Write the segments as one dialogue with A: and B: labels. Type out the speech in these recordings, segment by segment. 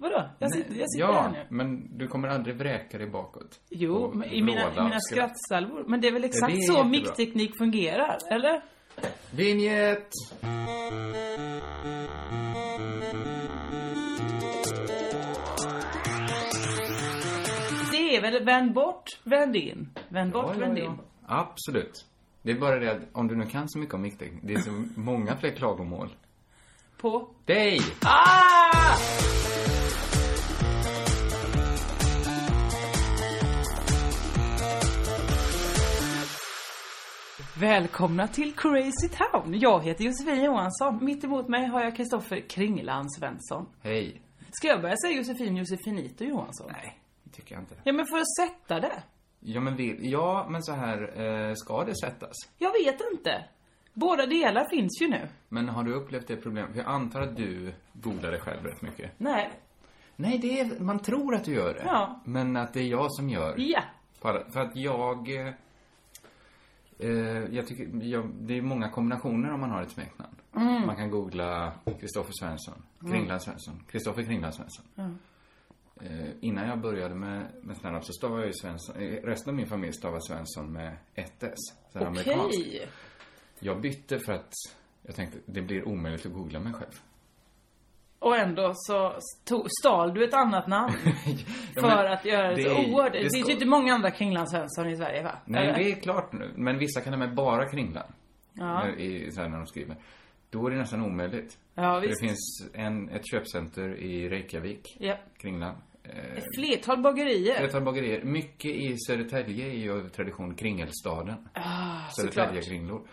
A: Vadå? Jag sitter, jag sitter här
B: Ja,
A: nu.
B: men du kommer aldrig vräka dig bakåt.
A: Jo,
B: Och
A: men i mina, i
B: vråla
A: mina
B: och skratta.
A: skrattsalvor. Men det är väl exakt
B: Det är
A: så
B: jättebra.
A: mickteknik fungerar, eller?
B: Vinjett!
A: Det är väl vänd bort, vänd in. Vänd bort,
B: Ja, ja,
A: vänd
B: ja.
A: in.
B: Absolut. Det är bara det att om du nu kan så mycket om mickteknik, det är så många fler klagomål.
A: På.
B: Dig!
A: Ah! Välkomna till Crazy Town. Jag heter Josefin Johansson. Mitt emot mig har jag Kristoffer Kringland Svensson.
B: Hej.
A: Ska jag börja säga Josefin Josefinito Johansson?
B: Nej, det tycker jag inte.
A: Ja, men för att sätta det.
B: Ja, men, vill, ja, men så här eh, ska det sättas.
A: Jag vet inte. Båda delar finns ju nu.
B: Men har du upplevt det problemet? För jag antar att du googlar dig själv rätt mycket.
A: Nej.
B: Nej, det är, man tror att du gör det.
A: Ja.
B: Men att det är jag som gör
A: Ja.
B: För att- för att jag... eh, Eh, jag tycker, jag, det är många kombinationer om man har ett smeknamn.
A: Mm.
B: Man kan googla Kristoffer Svensson, Kringland Svensson, Kristoffer Kringland Svensson.
A: Mm.
B: Eh, innan jag började med, med standup så stavade jag ju Svensson, eh, resten av min familj stavade Svensson med ett S. så här
A: Okej.
B: amerikanskt. Jag bytte för att jag tänkte, det blir omöjligt att googla mig själv.
A: Och ändå så to- stal du ett annat namn.
B: Ja,
A: för
B: men
A: att göra det så
B: är-
A: oerhört. Det, typ finns
B: ska-
A: ju inte många andra Kringland Svensson i Sverige va?
B: Nej,
A: Eller?
B: det är klart nu. Men vissa kan ha med bara Kringland.
A: Ja.
B: I, så här när de skriver. Då är det nästan omöjligt.
A: Ja,
B: För
A: visst.
B: Det finns en, ett köpcenter i Reykjavik,
A: Ja.
B: Kringland. Eh,
A: Ett flertal bagerier.
B: ett par bagerier. Mycket i Södertälje är ju av tradition kringelstaden. Ah,
A: såklart.
B: Södertälje-kringlor.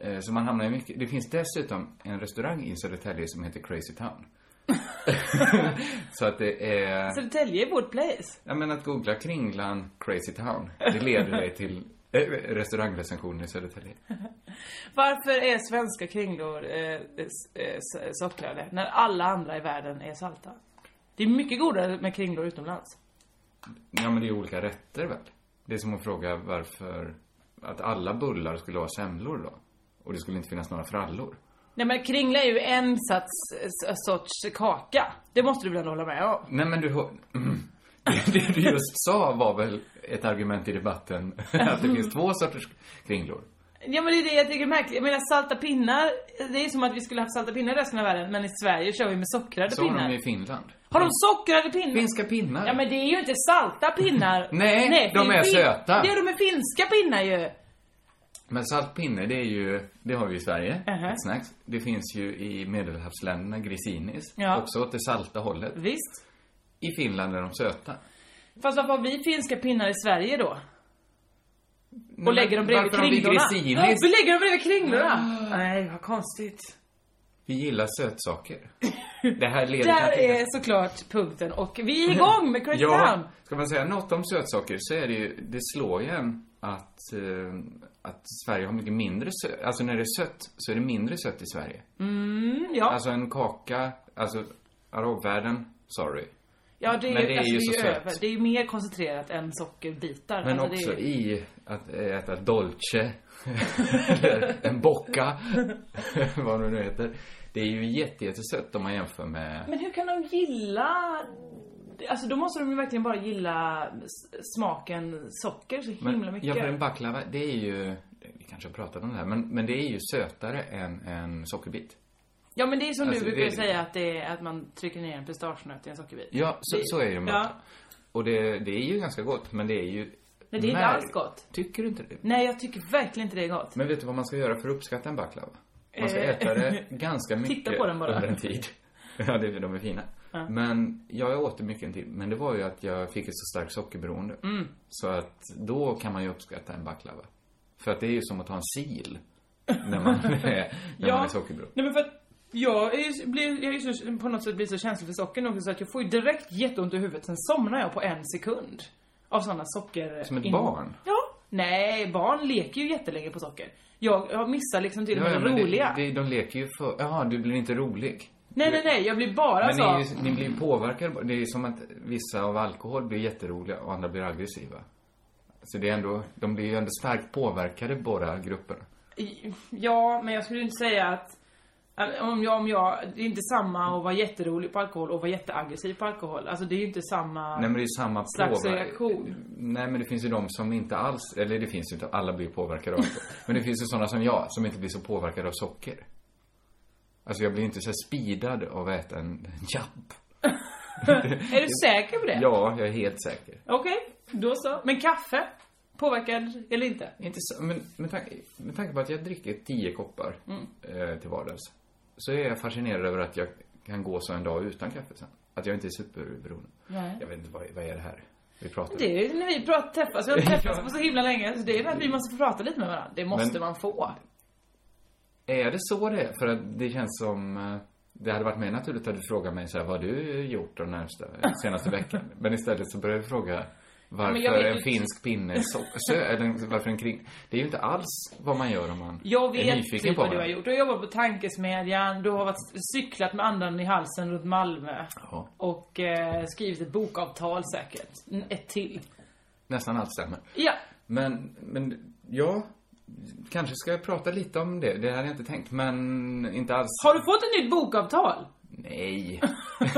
B: Eh, så man hamnar i mycket. Det finns dessutom en restaurang i Södertälje som heter Crazy Town. så att det är...
A: Södertälje är vårt place.
B: Ja, men att googla Kringlan Crazy Town, det leder dig till eh, restaurangrecensionen i Södertälje.
A: Varför är svenska kringlor eh, s- eh, s- sockrade när alla andra i världen är salta? Det är mycket godare med kringlor utomlands.
B: Ja, men det är olika rätter väl? Det är som att fråga varför att alla bullar skulle ha semlor då. Och det skulle inte finnas några frallor.
A: Nej men kringla är ju en sats, s- sorts kaka. Det måste du väl ändå hålla med om?
B: Nej, men du hör... Det du just sa var väl ett argument i debatten att det finns två sorters kringlor.
A: Ja men det är det jag tycker är märkligt. Jag menar salta pinnar, det är som att vi skulle haft salta pinnar i resten av världen. Men i Sverige kör vi med sockrade
B: Så har
A: pinnar.
B: de i Finland.
A: Har de sockrade pinnar?
B: Finska pinnar.
A: Ja men det är ju inte salta pinnar.
B: Nej,
A: för
B: de
A: det
B: är
A: fin-
B: söta.
A: Ja de är finska pinnar ju.
B: Men saltpinne, det är ju, det har vi i Sverige,
A: Mhm.
B: ett snacks. Det finns ju i medelhavsländerna, grisinis,
A: Ja.
B: också åt det salta hållet.
A: Visst.
B: I Finland är de söta.
A: Fast varför har vi finska pinnar i Sverige då?
B: Nej,
A: Och
B: men
A: lägger dem bredvid
B: varför har vi Ah.
A: kringlorna? Ja,
B: grisinis?
A: Vi lägger dem bredvid kringlorna. Nej vad konstigt.
B: Vi gillar sötsaker. Det här leder
A: Där
B: kanske-
A: är såklart punkten och vi är igång med Crazy
B: Ja,
A: Town.
B: ska man säga något om sötsaker så är det ju, det slår ju en att, eh, att Sverige har mycket mindre sött, alltså när det är sött så är det mindre sött i Sverige.
A: Mm, ja.
B: Alltså en kaka, alltså arabvärlden, sorry.
A: ja, det är,
B: men det är
A: alltså,
B: ju
A: det är
B: så
A: ju över.
B: sött.
A: Det är ju mer koncentrerat än sockerbitar.
B: Men
A: alltså,
B: också
A: det är... ju-
B: i att äta dolce, eller en bocca, vad det nu heter. Det är ju jätte, jättesött om man jämför med...
A: Men hur kan de gilla... Alltså då måste de ju verkligen bara gilla s- smaken socker så himla mycket.
B: ja, för en baklava, det är ju... Vi kanske har pratat om det här, men, men det är ju sötare än en sockerbit.
A: Ja men det är som
B: Alltså,
A: du brukar
B: det-
A: säga att det är att man trycker ner en pistagenöt i en sockerbit.
B: Ja, så,
A: Det-
B: så är det ju med
A: ja.
B: baklava. Och det, det är ju ganska gott, men det är ju...
A: Nej, det är inte
B: märk-
A: alls gott.
B: Tycker du inte det?
A: Nej, jag tycker verkligen inte det är gott.
B: Men vet du vad man ska göra för att uppskatta en baklava? Man ska
A: Eh.
B: äta det ganska mycket
A: på den bara.
B: under en tid. Ja, det, de är fina. Men ja, jag åt det mycket en tid. Men det var ju att jag fick ett så starkt sockerberoende.
A: Mm.
B: Så att då kan man ju uppskatta en baklava. För att det är ju som att ta en sil. När man är, när man är sockerberoende.
A: Nej men för att jag är, ju- blir, jag är ju så, på något sätt blir så känslig för socker nog så att jag får ju direkt jätteont i huvudet, sen somnar jag på en sekund. Av sådana socker...
B: Som ett
A: in-
B: barn?
A: Ja. Nej, barn leker ju jättelänge på socker. Jag, jag missar liksom till och med det
B: men det-
A: roliga.
B: det- de leker ju för... Jaha, du blir inte rolig.
A: Nej, nej, nej, jag blir bara
B: Men
A: så...
B: ni, är ju- ni blir ju påverkade. Det är ju som att vissa av alkohol blir jätteroliga och andra blir aggressiva. Så det är ändå, de blir ju ändå starkt påverkade båda grupperna.
A: Ja, men jag skulle inte säga att... Om jag, om jag, det är inte samma att vara jätterolig på alkohol och vara jätteaggressiv på alkohol. Alltså det är ju inte samma...
B: Nej men det är ju samma
A: Slags
B: påver-
A: reaktion.
B: Nej men det finns ju de som inte alls, eller det finns ju inte, alla blir påverkade av alkohol. Men det finns ju sådana som jag som inte blir så påverkade av socker. Alltså jag blir inte så här speedad av att äta en japp.
A: är du säker på det?
B: Ja, jag är helt säker.
A: Okej, då så. Men kaffe? Påverkad eller inte?
B: Inte så, men med tanke, med tanke på att jag dricker tio koppar
A: Mm.
B: eh, till vardags så är jag fascinerad över att jag kan gå så en dag utan kaffe sen. Att jag inte är superberoende.
A: Nej.
B: Jag vet inte, vad, vad är det här vi pratar om?
A: Det är ju när vi pratar, träffas, vi har inte träffats på så himla länge så det är för att vi måste få prata lite med varandra. Det måste
B: Men-
A: man få.
B: Är det så det är? För att det känns som... eh, Det hade varit mer naturligt att du frågar mig så här, vad har du gjort de närmsta, senaste veckan? Men istället så börjar du fråga
A: men jag
B: varför
A: vet
B: en
A: ju-
B: finsk pinne är så, så, eller varför en kring... Det är ju inte alls vad man gör om man
A: Jag
B: är
A: vet
B: nyfiken
A: typ
B: på
A: vad du har
B: varandra.
A: gjort. Du har jobbat på tankesmedjan, du har varit, cyklat med andan i halsen runt Malmö.
B: Ja,
A: Och eh, skrivit ett bokavtal säkert. Mm, Ett till.
B: nästan allt stämmer.
A: Ja.
B: Men, men ja, kanske ska jag prata lite om det. Det hade jag inte tänkt, men inte alls.
A: Har du fått ett nytt bokavtal?
B: Nej.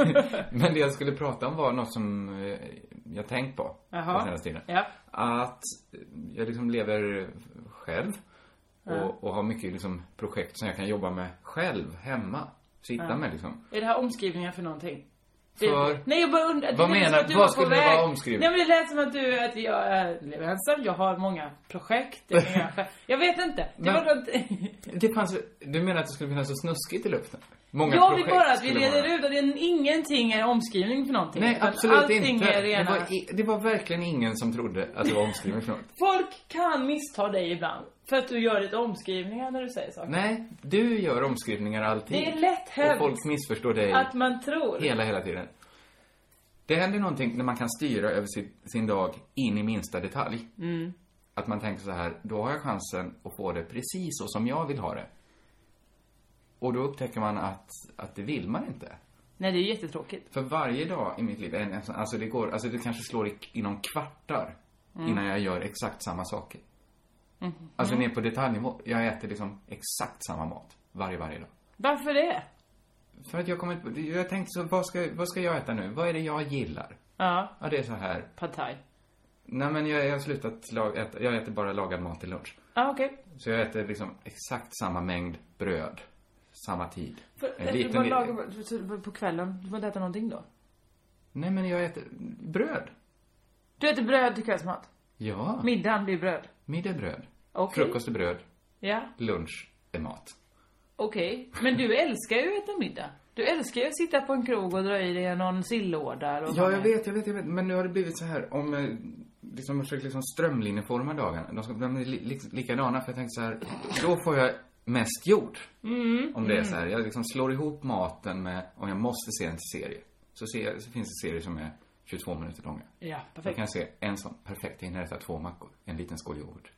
B: men det jag skulle prata om var något som eh, jag tänkt på
A: Jaha.
B: den senaste tiden.
A: Ja.
B: Att jag liksom lever själv och, och har mycket liksom projekt som jag kan jobba med själv hemma. Sitta med liksom.
A: Är det här omskrivningar för någonting? Det-
B: För-
A: Nej jag bara undrar. det
B: Vad
A: lät som
B: menar-
A: att du
B: vad
A: var på
B: skulle det
A: väg-
B: vara omskrivning?
A: Nej men det lät som att du, att jag är lever ensam, jag har många projekt. Jag, har många chef- jag vet inte. Det
B: Men-
A: var något...
B: Det fanns, du menar att det skulle finnas så snuskigt i luften? Många
A: Jag vill
B: projekt
A: bara att vi
B: skulle vara-
A: reder ut att det är, ingenting är omskrivning för någonting.
B: Nej,
A: Utan
B: absolut
A: allting
B: inte.
A: Är
B: det,
A: rena...
B: var, i- det var verkligen ingen som trodde att det var omskriven för något.
A: Folk kan missta dig ibland. För att du gör lite omskrivningar när du säger saker.
B: Nej, du gör omskrivningar alltid.
A: Det är lätt hänt.
B: Och folk missförstår dig
A: Att man tror.
B: hela, hela tiden. Det händer någonting när man kan styra över sin, sin dag in i minsta detalj.
A: Mm.
B: Att man tänker så här, då har jag chansen att få det precis så som jag vill ha det. Och då upptäcker man att, att det vill man inte.
A: Nej det är jättetråkigt.
B: För varje dag i mitt liv, är nästan- alltså det går, alltså det kanske slår i, inom kvartar
A: Mm.
B: innan jag gör exakt samma saker.
A: Mm-hmm.
B: Alltså ner på detaljnivå. Jag äter liksom exakt samma mat varje, varje dag.
A: Varför det?
B: För att jag kommer inte på- jag tänkte så, vad ska, vad ska jag äta nu? Vad är det jag gillar?
A: Ja,
B: Ja, det är så här.
A: pad thai.
B: Nej men jag, jag har slutat lag, äta, jag äter bara lagad mat till lunch.
A: Ja okej.
B: Så jag äter liksom exakt samma mängd bröd. Samma tid.
A: För, äter du bara lagar, du- du- på kvällen? Du får inte äta någonting då?
B: Nej men jag äter bröd.
A: Du äter bröd till kvällsmat?
B: Ja,
A: Middagen blir bröd?
B: middag är bröd.
A: Okej.
B: Frukost är bröd.
A: Ja,
B: lunch är mat.
A: okej. Men du älskar ju att äta middag. Du älskar ju att sitta på en krog och dra i dig någon sillåda och
B: Ja, jag vet, jag vet, jag vet. Men nu har det blivit så här om eh, liksom jag försöker liksom strömlinjeforma dagarna. De ska bli li, li, likadana för jag tänkte så här, då får jag mest gjort. Om det är så här, jag liksom slår ihop maten med, om jag måste se en serie. Så, ser jag, så finns det serier som är 22 minuter långa.
A: Ja,
B: Jag
A: perfekt.
B: kan se en sån, perfekt, jag hinner äta två mackor, en liten skål yoghurt.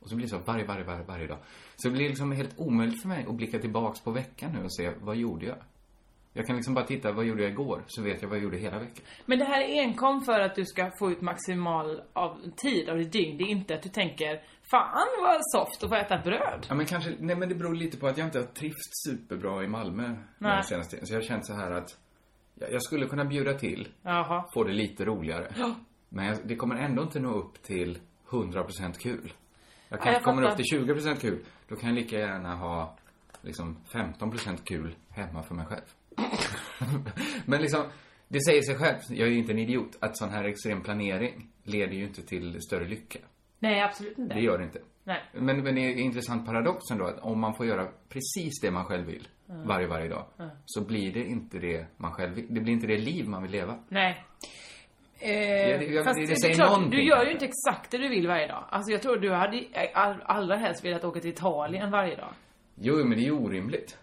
B: Och så blir det så varje, varje, varje, varje dag. Så det blir liksom helt omöjligt för mig att blicka tillbaks på veckan nu och se, vad gjorde jag? Jag kan liksom bara titta, vad gjorde jag igår? Så vet jag vad jag gjorde hela veckan.
A: Men det här är enkom för att du ska få ut maximal av tid av ditt dygn. Det är inte att du tänker Fan vad soft att få äta bröd.
B: Ja men kanske, nej men det beror lite på att jag inte har trivts superbra i Malmö den
A: Nej.
B: senaste tiden. Så jag har känt så här att, jag, jag skulle kunna bjuda till,
A: Jaha.
B: få det lite roligare. Men jag, det kommer ändå inte nå upp till 100% kul. Jag kanske
A: jag
B: kommer upp
A: fattar.
B: till 20% kul. Då kan jag lika gärna ha liksom 15% kul hemma för mig själv. men liksom, Det säger sig själv, jag är ju inte en idiot, att sån här extrem planering leder ju inte till större lycka.
A: Nej, absolut inte.
B: Det gör det inte.
A: Nej.
B: Men, men det är en intressant paradox ändå att om man får göra precis det man själv vill varje, varje dag så blir det inte det man själv vill. Det blir inte det liv man vill leva.
A: Nej. Eh,
B: det- jag-
A: fast
B: det
A: det är
B: säger
A: klart,
B: någonting.
A: du gör ju inte exakt det du vill varje dag. Alltså jag tror du hade all, allra helst velat åka till Italien varje dag.
B: Jo, men det är ju orimligt.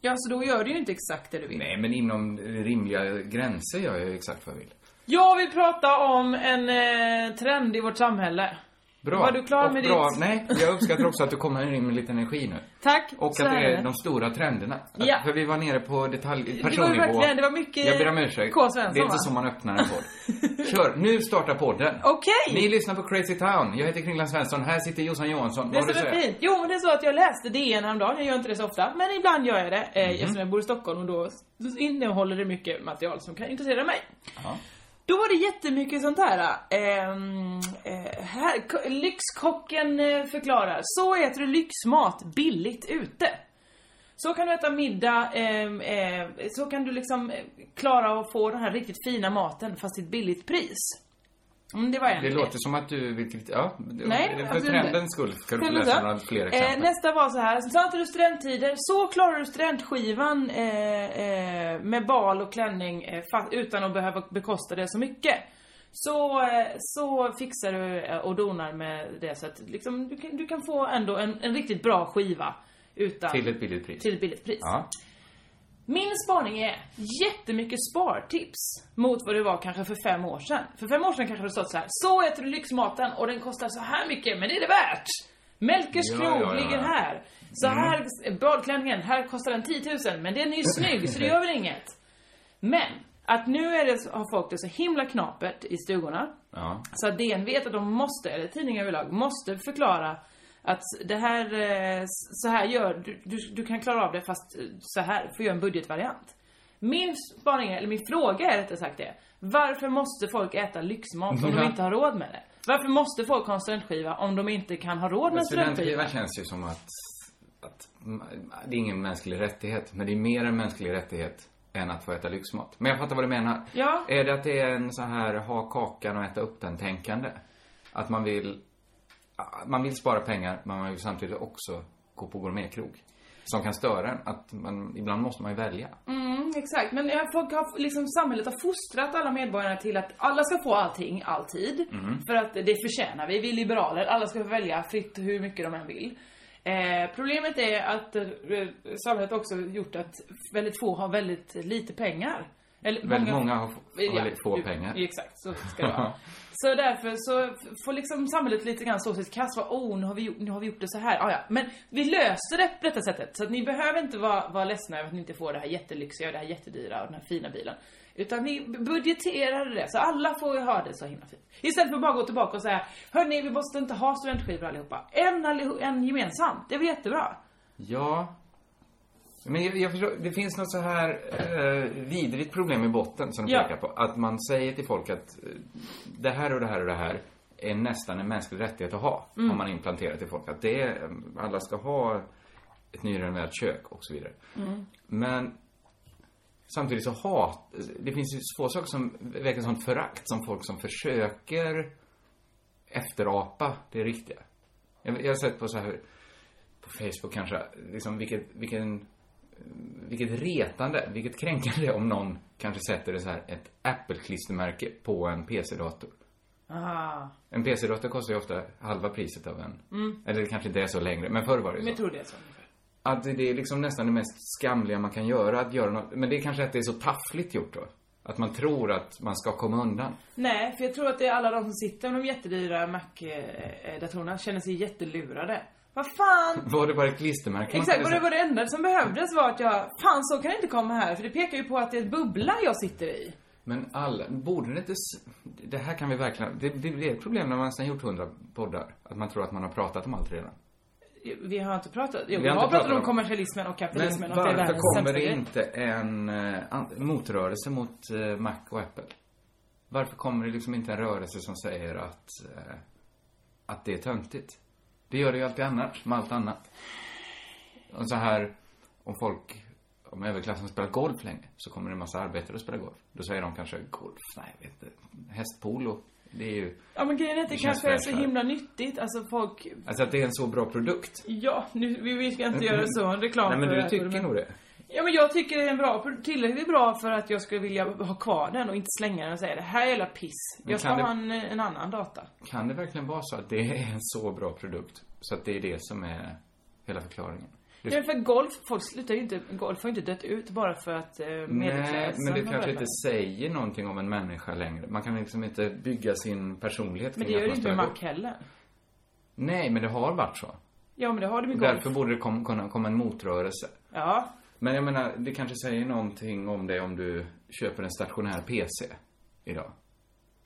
A: Ja, så då gör du ju inte exakt det du vill.
B: Nej, men inom rimliga gränser gör jag ju exakt vad jag vill.
A: Jag vill prata om en eh, trend i vårt samhälle.
B: Bra.
A: Var du klar
B: och
A: med
B: bra.
A: ditt?
B: Nej, jag uppskattar också att du kommer in med lite energi nu.
A: Tack.
B: Och
A: så
B: att det
A: här
B: är de stora trenderna. Att-
A: Ja.
B: För vi var nere på detalj,
A: Det var ju
B: personnivå.
A: verkligen, det var mycket
B: Jag ber om ursäkt.
A: K. Svensson
B: det är inte
A: va?
B: så man öppnar en podd. Kör, nu startar podden.
A: Okej.
B: Ni lyssnar på Crazy Town. Jag heter Kringland Svensson. Här sitter Jossan Johansson.
A: Det
B: Vad har
A: som
B: du
A: är
B: att säga?
A: fint. Jo, men det är så att jag läste DN häromdagen. Jag gör inte det så ofta, men ibland gör jag det. Eh,
B: Mhm.
A: Eftersom jag bor i Stockholm och då innehåller det mycket material som kan intressera mig.
B: Ja.
A: Då var det jättemycket sånt här. ehm, eh, här ko- lyxkocken eh, förklarar. Så äter du lyxmat billigt ute. Så kan du äta middag, ehm, eh, så kan du liksom eh, klara att få den här riktigt fina maten fast till ett billigt pris. Mm, det var en
B: Det
A: grej.
B: låter som att du vill... kritisera- Ja,
A: Nej,
B: för
A: absolut
B: trendens
A: inte.
B: skull ska du
A: Kan
B: få
A: du
B: läsa
A: inte?
B: några fler
A: Eh,
B: exempel.
A: nästa var så här. Samtidigt du studenttider, så klarar du studentskivan eh, eh, med bal och klänning eh, fa- utan att behöva bekosta det så mycket. Så, eh, så fixar du eh, och donar med det så att liksom, du, kan, du kan få ändå en, en riktigt bra skiva utan,
B: Till ett billigt pris.
A: till ett billigt pris.
B: Ja.
A: Min spaning är jättemycket spartips mot vad det var kanske för fem år sedan. För fem år sedan kanske det stått så här. så äter du lyxmaten och den kostar så här mycket, men det är det värt! Melkers
B: Ja,
A: krog
B: ja, Mm. ja,
A: ligger
B: ja.
A: här. Så här, badklänningen, här kostar den 10 000, men den är ju snygg så det gör väl inget. Men, att nu är det, så- har folk det så himla knapert i stugorna.
B: ja.
A: Så att DN vet att de måste, eller tidningar överlag, måste förklara att det här, eh, så här gör, du, du, du kan klara av det fast eh, så här, får göra en budgetvariant. Min spaning, är- eller min fråga är rättare sagt det. Varför måste folk äta lyxmat om de
B: Ja.
A: inte har råd med det? Varför måste folk ha en studentskiva om de inte kan ha råd med
B: Men
A: en studentskiva?
B: studentskivan Alltså, känns ju som att, att det är ingen mänsklig rättighet, men det är mer en mänsklig rättighet än att få äta lyxmat. Men jag fattar vad du menar.
A: Ja.
B: Är det att det är en så här ha kakan och äta upp den tänkande? Att man vill, man vill spara pengar, men man vill samtidigt också gå på gourmetkrog. Som kan störa en. Att man, ibland måste man ju välja.
A: Mm, exakt, men eh, folk har, liksom, samhället har fostrat alla medborgarna till att alla ska få allting, alltid.
B: Mm.
A: För att det förtjänar vi, vi är liberaler, alla ska få välja fritt hur mycket de än vill. Eh, problemet är att eh, samhället också gjort att väldigt få har väldigt lite pengar. Eller,
B: Väldigt många har, har
A: Ja,
B: väldigt få
A: du-
B: pengar.
A: Exakt, så ska det vara. så därför så f- får liksom samhället lite grann stå sitt kast. Vad, oh, nu har, vi, gjort- nu har vi gjort det så här. Ah, ja. Men vi löser det på detta sättet. Så att ni behöver inte vara, vara ledsna över att ni inte får det här jättelyxiga och det här jättedyra och den här fina bilen. Utan ni budgeterade det, så alla får ju ha det så himla fint. Istället för att bara gå tillbaka och säga, hörni vi måste inte ha studentskivor allihopa. En, allihop, en gemensam, det är väl jättebra?
B: Ja. Men jag, jag förstår, det finns något så här eh, vidrigt problem i botten som du
A: Ja.
B: pekar på. Att man säger till folk att eh, det här och det här och det här är nästan en mänsklig rättighet att ha. Har man implanterat till folk. Att det är, eh, alla ska ha ett nyrenoverat kök och så vidare. Men samtidigt så hat, det finns ju få saker som väcker sånt förakt som folk som försöker efterapa det riktiga. Jag, jag har sett på så här på Facebook kanske, liksom vilket, vilken, vilket retande, vilket kränkande om någon kanske sätter det så här ett Apple-klistermärke på en PC-dator.
A: Ah,
B: En PC-dator kostar ju ofta halva priset av en. Eller det kanske inte är så längre, men förr var det ju
A: Mm. men
B: så.
A: jag tror det är så. ungefär.
B: Att det är liksom nästan det mest skamliga man kan göra, att göra något. Men det är kanske att det är så taffligt gjort då. Att man tror att man ska komma undan.
A: Nej, för jag tror att det är alla de som sitter med de jättedyra Mac-datorerna känner sig jättelurade. Vad fan!
B: Var det bara ett klistermärke man
A: Exakt,
B: skulle
A: och det var
B: sätta?
A: det enda som behövdes var att jag, fan så kan det inte komma här, för det pekar ju på att det är ett bubbla jag sitter i.
B: Men alla, borde det inte... s- Det här kan vi verkligen... Det, det blir ett problem när man nästan gjort hundra poddar. Att man tror att man har pratat om allt redan.
A: Vi har inte pratat, jo,
B: har
A: vi har
B: inte
A: pratat
B: pratat
A: om
B: om-
A: kommersialismen och
B: Men
A: kapitalismen och att det är
B: varför
A: världens
B: kommer
A: sämsta
B: det
A: grej.
B: inte en eh, an- motrörelse mot eh, Mac och Apple? Varför kommer det liksom inte en rörelse som säger att, eh, att det är töntigt? Det gör det ju alltid annars, med allt annat. Och så här, om folk om överklassen spelar golf länge så kommer det en massa arbetare att spela golf. Då säger de kanske golf, nej jag vet inte, hästpolo. Det är ju,
A: Ja men grejen är att det,
B: Det känns
A: kanske är så
B: fräschare.
A: himla nyttigt. Alltså folk...
B: alltså att det är en så bra produkt.
A: Ja, nu, vi vi ska inte göra så en reklam
B: Nej men
A: för det
B: du
A: här,
B: tycker nog det.
A: Ja men jag tycker det är en bra, tillräckligt bra för att jag skulle vilja ha kvar den och inte slänga den och säga det här är jävla piss.
B: Men
A: Jag ska
B: kan det-
A: ha en, en annan data.
B: Kan det verkligen vara så att det är en så bra produkt? Så att det är det som är hela förklaringen? Det-
A: Ja, men för golf, folk slutar ju inte, golf har ju inte dött ut bara för att eh,
B: Nej,
A: medelklassen
B: men det
A: har
B: kanske
A: börjat.
B: inte säger någonting om en människa längre. Man kan liksom inte bygga sin personlighet
A: Men det
B: kring
A: gör
B: att
A: det inte
B: man
A: med
B: spelar
A: Mac heller.
B: golf. Nej, men det har varit så.
A: Ja men det har det med golf.
B: Därför borde det kom, kunna komma en motrörelse.
A: Ja.
B: Men jag menar, det kanske säger någonting om dig om du köper en stationär PC idag.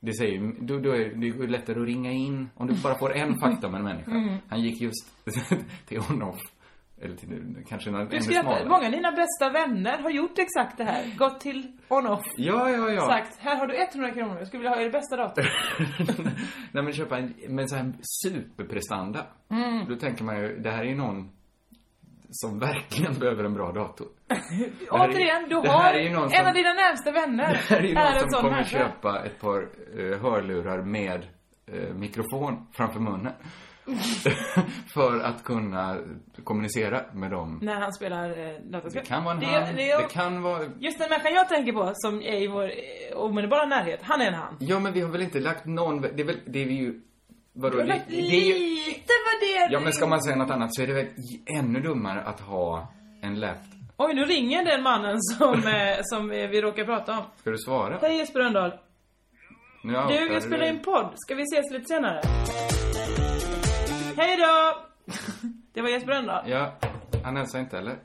B: Det säger ju- då, då är det är lättare att ringa in om du bara får en fakta om en människa.
A: Mm.
B: Han gick just till Onoff. Eller till, kanske en
A: Du
B: ännu
A: skrattar.
B: smalare.
A: Många av dina bästa vänner har gjort exakt det här. Gått till on-off.
B: Ja, ja, ja.
A: Sagt, här har du 100 kronor, jag skulle vilja ha er bästa dator.
B: Nej men köpa en, men så här superprestanda.
A: Mm.
B: Då tänker man ju, det här är ju någon som verkligen behöver en bra dator. Det här är-
A: Återigen, du
B: det
A: har
B: här är ju någon
A: en
B: som-
A: av dina närmsta vänner.
B: Det här är ju någon som kommer
A: människa.
B: köpa ett par eh, hörlurar med eh, mikrofon framför munnen. för att kunna kommunicera med dem.
A: När han spelar eh, dataspel.
B: Det kan vara en
A: Det-
B: han,
A: det är-
B: det kan vara...
A: Just den människan jag tänker på som är i vår eh, omedelbara närhet, han är en han.
B: Ja men vi har väl inte lagt någon, det är väl, det är ju... Vadå?
A: Du har
B: Det,
A: lagt
B: det är ju...
A: lite värdering.
B: Ja men ska man säga något annat så är det väl ännu dummare att ha en laptop
A: Oj, nu ringer den mannen som, eh, som eh, vi råkar prata om.
B: Ska du svara?
A: Hej Jesper Rönndahl.
B: Nu outar
A: Du, jag spelar in podd. Ska vi ses lite senare? Hej då! Det var Jesper Rönndahl.
B: Ja, han hälsar inte eller?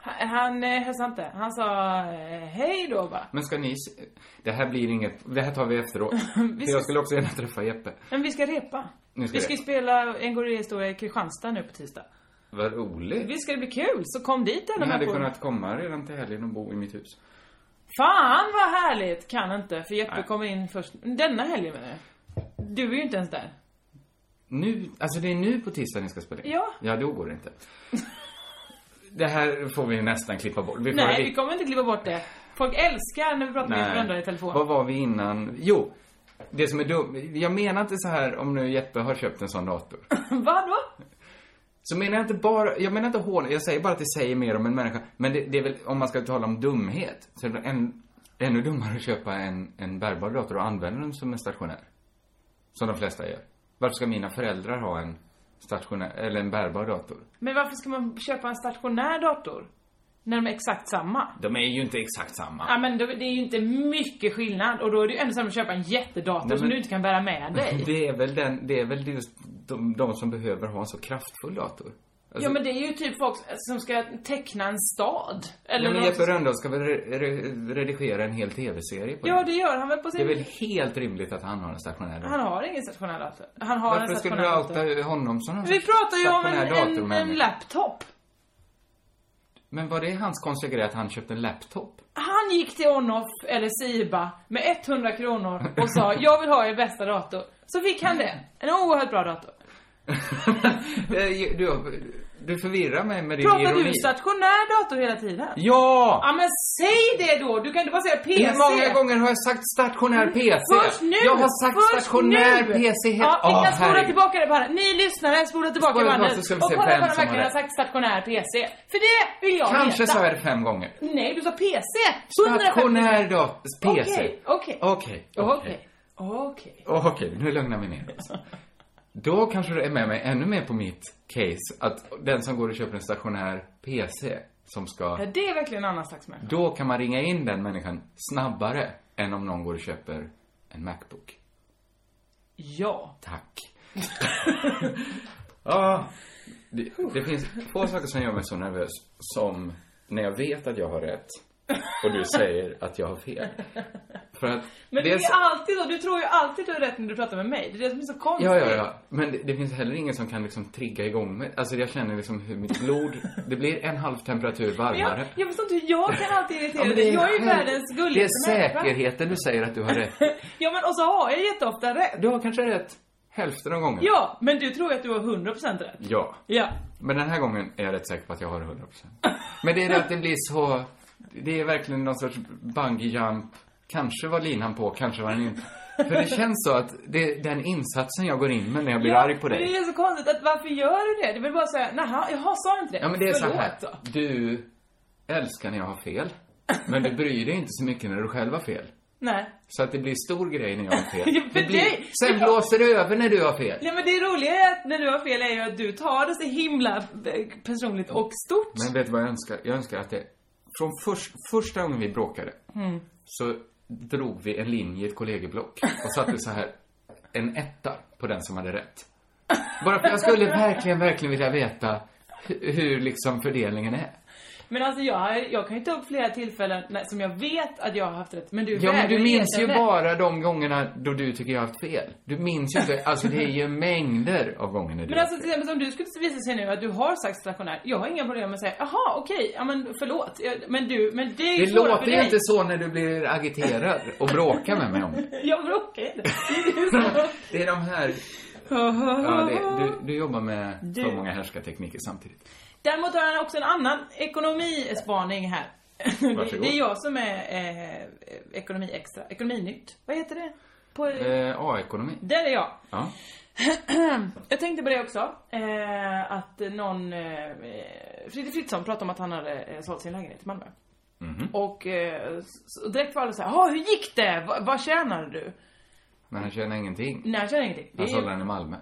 A: Han, han eh, hälsade inte. Han sa eh, hej då bara.
B: Men ska ni... s- Det här blir inget... Det här tar vi efteråt. För jag skulle också gärna träffa Jeppe.
A: Men vi ska repa.
B: Ni ska
A: vi ska ju
B: repa.
A: spela en gorillhistoria i Kristianstad nu på tisdag.
B: Vad roligt.
A: Visst ska det bli kul? Så kom dit alla
B: Ni hade
A: människor.
B: kunnat komma redan till helgen och bo i mitt hus.
A: Fan vad härligt! Kan inte, för Jeppe
B: Nej.
A: kommer in först. Denna helgen menar jag. Du är ju inte ens där.
B: Nu... Alltså det är nu på tisdag ni ska spela in?
A: Ja.
B: Ja, då går det inte. Det här får vi nästan klippa bort. Vi får
A: Nej,
B: det-
A: vi kommer inte klippa bort det. Folk älskar när vi pratar med
B: Nej.
A: varandra i telefon.
B: Vad var vi innan? Jo. Det som är dumt, jag menar inte så här om nu Jeppe har köpt en sån dator.
A: Vadå?
B: Så menar jag inte bara, jag menar inte hån, jag säger bara att det säger mer om en människa. Men det, det är väl, om man ska tala om dumhet, så är det väl än, ännu dummare att köpa en, en bärbar dator och använda den som en stationär. Som de flesta gör. Varför ska mina föräldrar ha en stationär, eller en bärbar dator?
A: Men varför ska man köpa en stationär dator? När de är exakt samma?
B: De är ju inte exakt samma.
A: Ja men då, det är ju inte mycket skillnad och då är det ju ändå som att köpa en jättedator
B: Nej,
A: som
B: men-
A: du inte kan bära med dig.
B: Det är väl den, det är väl just de, de som behöver ha en så kraftfull dator. Alltså,
A: Ja men det är ju typ folk som ska teckna en stad. Eller
B: ja, men
A: någon-
B: Jeppe Rönndahl ska väl re, re, redigera en hel tv-serie på
A: Ja
B: det.
A: det gör han väl på
B: Det är
A: sin...
B: väl helt rimligt att han har en stationär dator.
A: Han har ingen stationär dator. Han har
B: Varför
A: en
B: skulle
A: stationär
B: du
A: dator.
B: outa honom som någon
A: Vi
B: sorts
A: pratar ju om
B: stationär
A: en, en, en
B: datormänniska?
A: laptop.
B: Men var det hans konstiga grej att han köpte en laptop?
A: Han gick till Onoff eller Siba med 100 kronor och sa jag vill ha er bästa dator. Så fick han det. En oerhört bra dator.
B: Eh, du, du förvirrar mig med din
A: Pratar
B: ironi.
A: du stationär dator hela tiden?
B: Ja!
A: Ja men säg det då! Du kan inte bara säga PC!
B: Hur många gånger har jag sagt stationär PC?
A: Först nu!
B: Jag har sagt
A: Först
B: stationär
A: nu.
B: PC helt...
A: Ja, vi
B: Ah,
A: kan spola
B: herregud.
A: tillbaka det bara. Ni lyssnare, spola tillbaka
B: Spola tillbaka
A: bandet
B: så ska vi
A: och
B: se
A: kolla
B: vem
A: om han
B: som har
A: verkligen har
B: rätt.
A: sagt stationär PC. För det vill jag
B: Kanske
A: veta.
B: sa jag det fem gånger.
A: Nej, du sa PC! 150.
B: Stationär dator, PC.
A: Okej, okej.
B: Okej,
A: Okej. Okej.
B: Okej, nu lugnar vi ner oss. Då kanske du är med mig ännu mer på mitt case, att den som går och köper en stationär PC som ska...
A: Ja, det är verkligen en annan slags människa.
B: Då kan man ringa in den människan snabbare än om någon går och köper en Macbook.
A: Ja.
B: Tack. ah, det, det finns två saker som gör mig så nervös som när jag vet att jag har rätt och du säger att jag har fel. För att
A: Men det är
B: dels-
A: ju alltid så, du tror ju alltid du har rätt när du pratar med mig. Det är det som är så konstigt.
B: Ja, ja, ja. Men det, det finns heller ingen som kan liksom trigga igång mig. Alltså jag känner liksom hur mitt blod, det blir en halv temperatur
A: Men jag,
B: varmare.
A: jag förstår inte hur jag kan alltid irritera
B: men
A: dig. Jag är ju
B: hel-
A: världens
B: Det
A: gulligaste
B: är säkerheten du säger att du har rätt.
A: Ja men och så har jag jätteofta rätt.
B: Du har kanske rätt hälften av gången.
A: Ja, men du tror ju att du har 100% rätt.
B: Ja.
A: Ja.
B: Men den här gången är jag rätt säker på att jag har 100%. Men det är det att det blir så... det är verkligen någon sorts bungee jump. Kanske var linan på, kanske var den inte. För det känns så att det är den insatsen jag går in med när jag blir arg på dig.
A: Det är så konstigt att varför gör du det? Det är väl bara såhär, naha, jaha, sa jag inte det?
B: Ja, men det är så här.
A: Förlåt då.
B: Du älskar när jag har fel. Men du bryr dig inte så mycket när du själv har fel.
A: Nej.
B: Så att det blir stor grej när jag har fel.
A: Ja, för
B: det blir,
A: dig-
B: sen
A: Ja.
B: blåser det över när du har fel.
A: Nej men det roliga är att när du har fel är ju att du tar det så himla eh, personligt och stort.
B: Men vet du vad jag önskar? Jag önskar att det... Från förs- första gången vi bråkade
A: Mm.
B: så drog vi en linje i ett kollegieblock och satte så här en etta på den som hade rätt. Bara för jag skulle verkligen, verkligen vilja veta hu- hur liksom fördelningen är.
A: Men alltså jag, jag kan ju ta upp flera tillfällen när, som jag vet att jag har haft rätt. Men du
B: Ja, men du
A: vägrar
B: minns ju
A: erkänna det.
B: bara de gångerna då du tycker jag har haft fel. Du minns ju inte, alltså det är ju mängder av gånger när du
A: Men alltså till exempel som du skulle visa sig nu att du har sagt stationär. Jag har inga problem med att säga, jaha okej, ja men förlåt. Jag- Men du, men det är ju
B: Det
A: svårare
B: låter
A: för
B: ju
A: dig.
B: inte så när du blir agiterad och bråkar med mig om det.
A: Ja men okej. Det är ju så.
B: Det är de här, ja, det, du, du jobbar med för många härskartekniker samtidigt.
A: Däremot har han också en annan ekonomispaning här. Det,
B: Varsågod.
A: det är jag som är eh, ekonomi extra, ekonominytt. Vad heter det? På,
B: Eh, A-ekonomi.
A: Där är jag.
B: Ja.
A: Jag tänkte på det också. Eh, att någon... Eh, Fredrik Fritzson pratade om att han hade eh, sålt sin lägenhet i Malmö.
B: Mhm.
A: Och eh, så direkt var det så här, "Ja, hur gick det? Va, vad tjänade du?
B: Men han tjänar ingenting.
A: Nej, jag tjänade ingenting. Det
B: Han
A: är,
B: sålde
A: ju-
B: den i Malmö.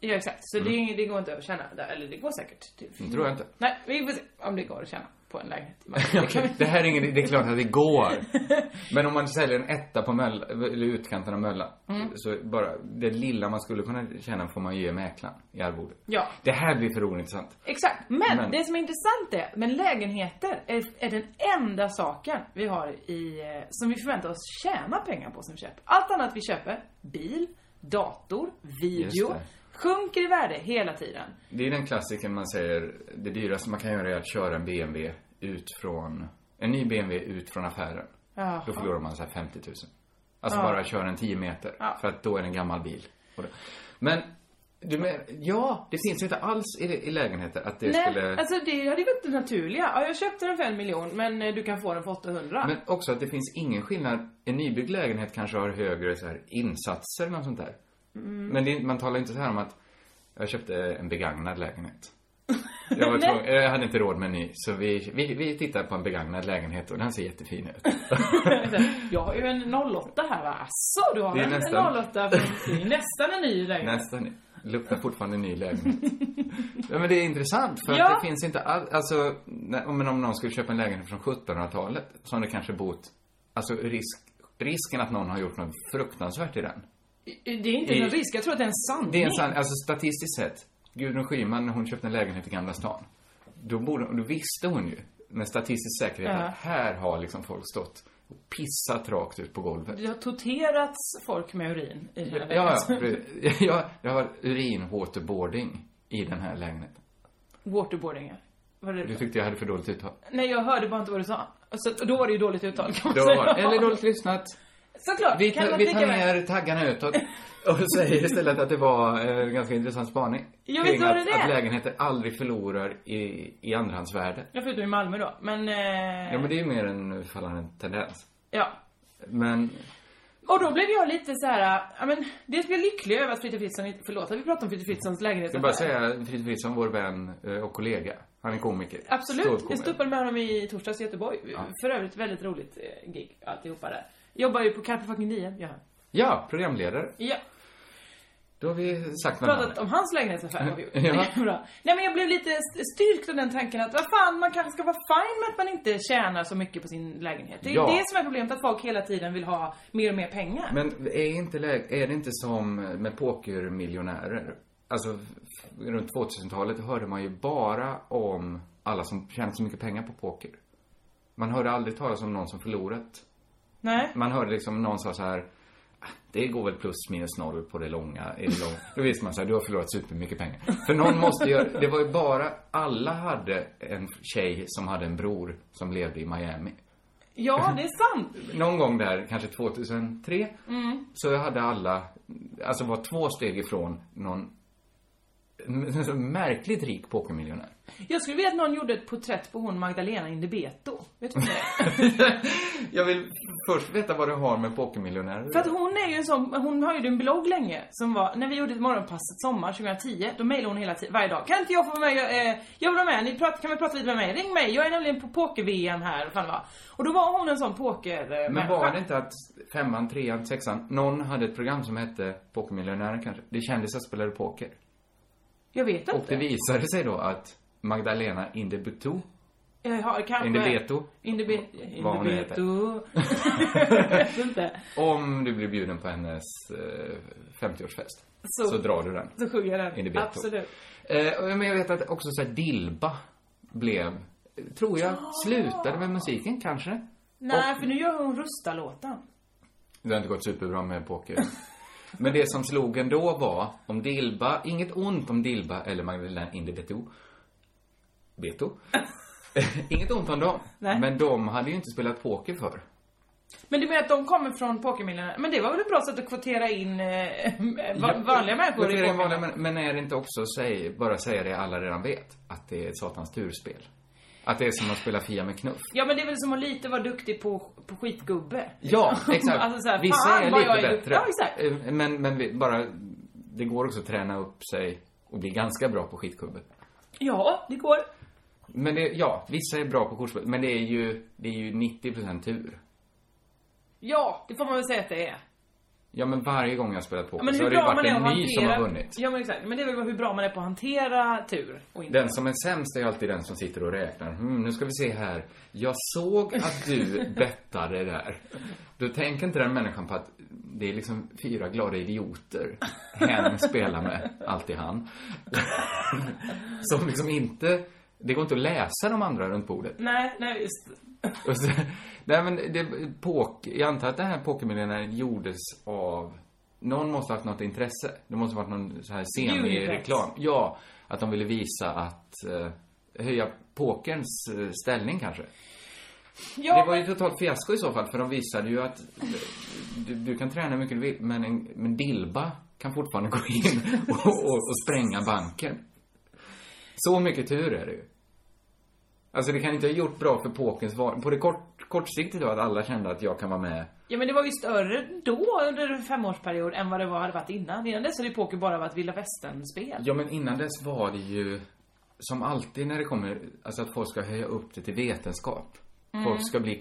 A: ja, exakt. Så det, det går inte att tjäna. där. Eller det går säkert. Typ.
B: Det tror jag inte.
A: Nej, vi får se om det går att tjäna på en lägenhet i Malmö. Det kan vi-
B: Okej, Det här är ingen, det är klart att det går. Men om man säljer en etta på Mölla, eller utkanten av Mölla,
A: Mm.
B: så bara det lilla man skulle kunna tjäna får man ge mäklaren i arvode.
A: Ja.
B: Det här blir för ointressant.
A: Exakt, men,
B: Men-
A: det som är intressant är, men lägenheter är, är den enda saken vi har i, eh, som vi förväntar oss tjäna pengar på som köp. Allt annat vi köper, bil, dator,
B: Just
A: video,
B: det.
A: sjunker i värde hela tiden.
B: Det är den klassiken man säger, det dyraste man kan göra är att köra en BMW ut från, en ny BMW ut från affären.
A: Jaha.
B: Då förlorar man så här 50 000. Alltså bara köra en 10 meter,
A: Ja.
B: för att då är det en gammal bil. Och då- Men, du men, ja, det finns ju inte alls i, i lägenheter att det
A: Nej,
B: skulle...
A: alltså det hade ju varit det naturliga. Ja, jag köpte den för en miljon, men eh, du kan få den för 800.
B: Men också att det finns ingen skillnad. En nybyggd lägenhet kanske har högre så här, insatser eller något sånt där. Men det, är- man talar inte så här om att jag köpte en begagnad lägenhet. Jag, var tvungen, jag hade inte råd med en ny, så vi, vi, vi tittade på en begagnad lägenhet och den ser jättefin ut.
A: Jag har ju en 08 här va? Asså, du har
B: Det är
A: en,
B: nästan.
A: en 08 från det är nästan en ny lägenhet.
B: Nästan. Luktar fortfarande en ny lägenhet. ja, men det är intressant för
A: Ja.
B: att det finns inte alls, alltså, när, om, men om någon skulle köpa en lägenhet från 1700-talet som det kanske bott, alltså risk, risken att någon har gjort något fruktansvärt i den.
A: Det är inte
B: I-
A: någon risk, jag tror att det är en sanning.
B: Det är en sann, alltså statistiskt sett, Gudrun Schyman när hon köpte en lägenhet i Gamla stan, då, borde, då visste hon ju med statistisk säkerhet
A: Ja.
B: att här har liksom folk stått och pissat rakt ut på golvet.
A: Det har torterats folk med urin i den
B: Ja,
A: här
B: ja,
A: veckan.
B: precis. jag, jag har urin-waterboarding i den här lägenheten.
A: Waterboarding, ja. Var det
B: Du tyckte jag hade för dåligt uttal.
A: Nej, jag hörde bara inte vad du sa. Så, att- och då var det ju dåligt uttal kan man
B: Då,
A: säga.
B: eller dåligt lyssnat.
A: Såklart,
B: Vi,
A: kan
B: tar-
A: man
B: vi
A: lika
B: tar
A: väl-
B: ner taggarna utåt och säger istället att det var eh, en ganska intressant spaning.
A: Ja,
B: kring
A: visst var det
B: att,
A: det.
B: att lägenheter aldrig förlorar i, i andrahandsvärde.
A: Ja, förutom i Malmö då. Men, eh,
B: Ja, men det är ju mer en fallande tendens.
A: ja.
B: Men
A: Och då blev jag lite så här, ja men, dels blev jag lycklig över att Fritte Fritzson inte, förlåt att vi pratar om Fritte Fritzsons lägenhet.
B: jag vill bara säga, Fritz Fritzson, vår vän eh, och kollega, han är komiker. Stor
A: Absolut,
B: komiker.
A: jag stod med honom i torsdags i Göteborg. För övrigt väldigt roligt eh, gig, alltihopa där. Jobbar ju på Carpe fucking Diem, ja.
B: Ja, programledare.
A: Ja,
B: Då har vi sagt vad
A: pratat
B: han
A: om hans lägenhetsaffär har vi gjort.
B: Ja.
A: Det är Bra. Nej men jag blev lite st- styrkt av den tanken att vad fan, man kanske ska vara fine med att man inte tjänar så mycket på sin lägenhet. Det är
B: Ja.
A: det som är problemet, att folk hela tiden vill ha mer och mer pengar.
B: Men är, inte lä- är det inte som med pokermiljonärer? Alltså, f- runt 2000-talet hörde man ju bara om alla som tjänat så mycket pengar på poker. Man hörde aldrig talas om någon som förlorat.
A: Nej.
B: Man hörde liksom någon sa så här, "Ah, det går väl plus minus noll på det långa. i det långa." Då visste man så här, du har förlorat supermycket pengar. För någon måste göra, det var ju bara, alla hade en tjej som hade en bror som levde i Miami
A: Ja, det är sant.
B: någon gång där, kanske
A: Mm.
B: 2003, så hade alla, alltså var två steg ifrån någon en så märkligt rik pokermiljonär.
A: Jag skulle vilja att någon gjorde ett porträtt på hon Magdalena Indebeto. Vet du vad det är?
B: Jag vill först veta vad du har med pokermiljonärer
A: För att hon är ju en sån, hon har ju en blogg länge som var, när vi gjorde ett morgonpasset sommar 2010, då mejlade hon hela tiden, varje dag. Kan inte jag få vara med, jag, eh, jag vill vara med, ni prat, kan vi prata lite med mig? Ring mig, jag är nämligen på poker-VM här, vad fan det var. Och då var hon en sån poker eh,
B: Men
A: människa.
B: var det inte att femman, trean, sexan, någon hade ett program som hette Pokermiljonären kanske? Det kändisar spelade poker.
A: Jag vet
B: Och det
A: inte.
B: visade sig då att Magdalena Indebeto
A: Jag har kanske...
B: Indebeto?
A: Indebe,
B: Vad hon nu
A: Indebeto. jag vet inte.
B: Om du blir bjuden på hennes eh, 50-årsfest
A: Så-
B: så. drar du den.
A: Så sjunger jag den.
B: Indebeto.
A: Absolut.
B: Eh, och- men jag vet att också så här Dilba blev, eh, tror jag, slutade med musiken kanske.
A: Nej, för nu gör hon Rusta-låten.
B: Det har inte gått superbra med poker. Men det som slogen då var om Dilba, inget ont om Dilba eller Magdalena Indebeto. Beto. inget ont om dem.
A: Nej.
B: Men de hade ju inte spelat poker förr.
A: Men du menar att de kommer från pokermiljonärerna? Men det var väl ett bra sätt att kvotera in eh, va- vanliga människor i
B: Kvotera in
A: poker?
B: vanliga, men, men är det inte också, säg, bara säga det alla redan vet, att det är ett satans turspel? Att det är som att spela Fia med knuff?
A: Ja men det är väl som att lite vara duktig på, på skitgubbe.
B: Ja, exakt.
A: Alltså så här,
B: Vissa
A: fan,
B: är
A: vad
B: lite
A: jag är-
B: bättre.
A: Ja, exakt.
B: Eh, Men, men vi, bara, det går också att träna upp sig och bli ganska bra på skitkubbet.
A: Ja, det går.
B: Men det, ja, vissa är bra på kortspel, men det är ju, det är ju 90% tur.
A: Ja, det får man väl säga att det är.
B: Ja, men varje gång jag har spelat
A: Ja,
B: poker
A: men
B: så
A: hur
B: har det ju
A: bra man
B: varit
A: är att
B: en ny som har
A: hantera...
B: vunnit.
A: Ja men exakt. Men det är väl hur bra man är på att hantera tur och inte.
B: Den som är sämst är ju alltid den som sitter och räknar. Hmm, nu ska vi se här. Jag såg att du bettade där. Då tänker inte den människan på att det är liksom fyra glada idioter hen spelar med, alltid han. Som liksom inte, det går inte att läsa de andra runt bordet.
A: Nej, nej just.
B: Och så, nej men det, pok, jag antar att den här pokermiljonären gjordes av någon måste ha haft något intresse. Det måste ha varit någon så här semi-reklam. Ja, att de ville visa att eh, höja pokerns eh, ställning kanske.
A: Ja,
B: det var ju totalt fiasko i så fall för de visade ju att eh, du, du kan träna hur mycket du vill men, en, men Dilba kan fortfarande gå in och, och, och spränga banken. Så mycket tur är det ju. Alltså det kan inte ha gjort bra för pokerns var- På det kort, kortsiktigt då att alla kände att jag kan vara med.
A: ja men det var ju större då under en femårsperiod än vad det var, hade varit innan. Innan dess hade ju poker bara varit vilda västern-spel.
B: Ja men innan dess var det ju som alltid när det kommer, alltså att folk ska höja upp det till vetenskap. Folk ska
A: Mm. Ja, jo,
B: bli
A: det är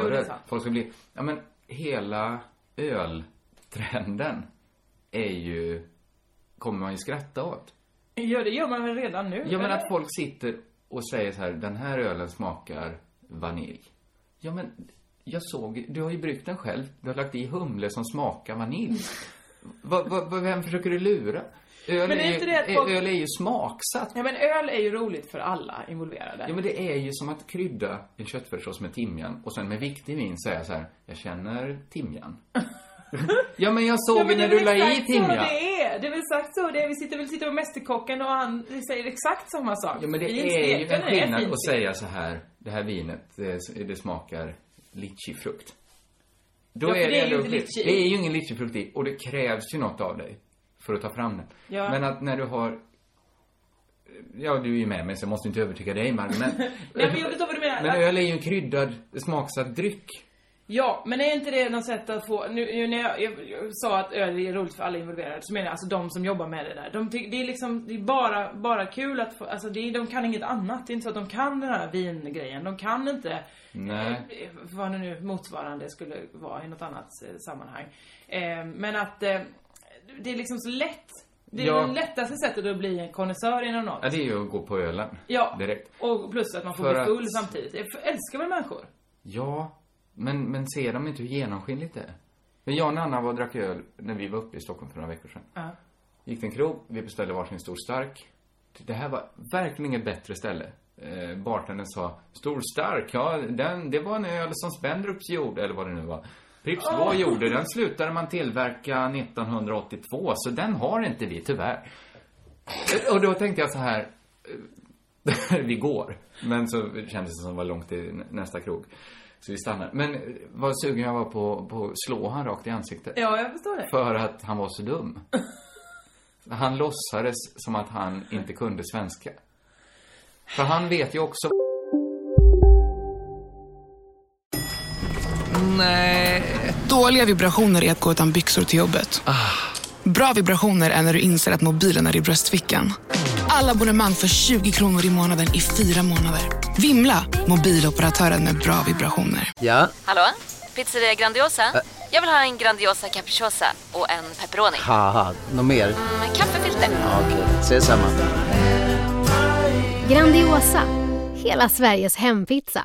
B: konnässörer.
A: sant.
B: folk ska bli, ja men hela öltrenden är ju, kommer man ju skratta åt.
A: Ja, det gör man väl redan nu?
B: Ja men
A: eller?
B: att folk sitter och säger så här, den här ölen smakar vanilj. Ja men, jag såg, du har ju bryggt den själv. Du har lagt i humle som smakar vanilj. Va, va, va, vem försöker du lura? Öl,
A: Men är
B: är,
A: inte
B: ju, eh,
A: det att folk-
B: öl är ju smaksatt.
A: Ja men öl är ju roligt för alla involverade.
B: Ja, men det är ju som att krydda en köttfärssås med timjan och sen med viktig vin säga så här, jag känner timjan. ja, men jag såg
A: Ja,
B: ju
A: men det
B: när
A: är väl
B: du la i
A: exakt så
B: timjan.
A: det är. Det är väl exakt så det är. Vi sitter väl sitter med Mästerkocken och han säger exakt samma sak.
B: Ja, men det
A: Fint
B: är ju
A: smekande,
B: en
A: det är
B: skillnad
A: fint
B: att säga så här, det här vinet, eh, det, det smakar litchifrukt. Då
A: Ja, för
B: är
A: det är ju
B: ändå
A: inte
B: okej.
A: litchi.
B: Det är ju ingen litchifrukt i och det krävs ju något av dig för att ta fram den.
A: Ja.
B: Men att när du har Ja, du är ju med mig så jag måste inte övertyga dig med argument.
A: Nej, men jag förstår vad du menar.
B: Men öl är ju en kryddad, smaksatt dryck.
A: Ja, men är inte det något sätt att få... Nu, nu när jag, jag, jag sa att öl är roligt för alla involverade så menar jag alltså de som jobbar med det där. De tyck, det är liksom, det är bara, bara kul att få... Alltså det är, de kan inget annat. Det är inte så att de kan den här vingrejen. De kan inte...
B: Nej.
A: Eh, vad det nu motsvarande skulle vara i något annat eh, sammanhang. Eh, men att eh, det är liksom så lätt. Det är
B: Ja.
A: det lättaste sättet att bli en konnässör inom något.
B: Ja, det är ju att gå på ölen.
A: Ja.
B: Direkt.
A: Och plus att man får
B: För
A: bli
B: att-
A: full samtidigt. Jag älskar väl människor?
B: Ja, men, men ser de inte hur genomskinligt det är? Men jag och Nanna var och drack öl när vi var uppe i Stockholm för några veckor sedan.
A: Ja.
B: Gick till en krog, vi beställde varsin stor stark. Det här var verkligen inget bättre ställe. Eh, bartendern sa, stor stark, ja, den, det var en öl som Spendrups gjorde, eller vad det nu var. Pripps var gjorde, den slutade man tillverka 1982, så den har inte vi tyvärr. Eh, Och då tänkte jag så här, eh, vi går. Men så kändes det som det var långt till nä- nästa krog. Så vi stannade. Men eh, vad sugen jag var på på att slå han rakt i ansiktet.
A: ja, jag förstår det.
B: För att han var så dum. Han låtsades som att han inte kunde svenska. För han vet ju också...
C: Dåliga vibrationer är att gå utan byxor till jobbet. Bra vibrationer är när du inser att mobilen är i bröstfickan. Alla abonnemang för 20 kronor i månaden i fyra månader. Vimla! Mobiloperatören med bra vibrationer.
D: Ja,
E: Hallå? Pizzeria Grandiosa? Jag vill ha en Grandiosa capriciosa och en pepperoni.
D: ha ha. Något mer?
E: Med kaffefilter.
D: Ja, Okej, ses samma.
F: Grandiosa, hela Sveriges hempizza.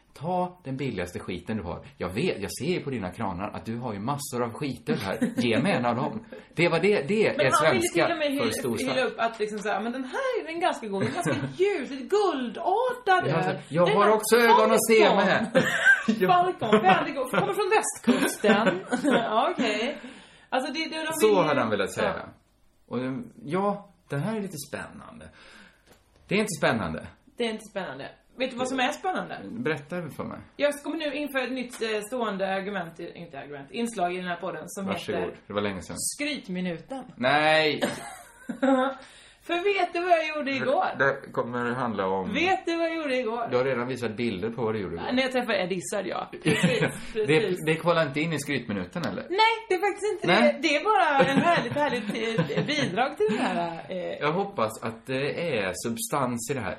B: ta den billigaste skiten du har. Jag vet, jag ser ju på dina kranar att du har ju massor av skiter här. Ge mig en av dem. Det var det, det
A: Men
B: är
A: han ville till och
B: svenska
A: med
B: för stor
A: hylla, hylla
B: stark.
A: upp att liksom såhär, men den här är en ganska god, en ganska ljus, lite guldartad
B: Jag har-
A: öl.
B: Jag
A: Den
B: har
A: här
B: också ögon att se
A: Falcon.
B: med.
A: Falcon, väldigt god. Kommer från västkusten. ja, okej. Alltså det, det, de vill
B: Så
A: ju-
B: hade han velat säga.
A: Ja.
B: Och um, ja, det här är lite spännande. Det är inte spännande.
A: Det är inte spännande. Vet du vad som är spännande?
B: Berätta för mig.
A: Jag kommer nu införa ett nytt eh, stående argument, i- inte argument, inslag i den här podden som
B: Varsågod.
A: heter
B: Det var länge sedan.
A: Skrytminuten.
B: Nej!
A: För vet du vad jag gjorde igår?
B: Det kommer det handla om...
A: Vet du vad jag gjorde
B: Du
A: igår?
B: har redan visat bilder på vad du gjorde igår.
A: När jag träffade Eddie Izzard, ja. Precis, precis.
B: det, det kollar inte in i skrytminuten eller?
A: Nej, det är faktiskt inte
B: Nej.
A: det. Det är bara en härligt, härligt eh, bidrag till den här. Eh,
B: Jag hoppas att det är substans i det här.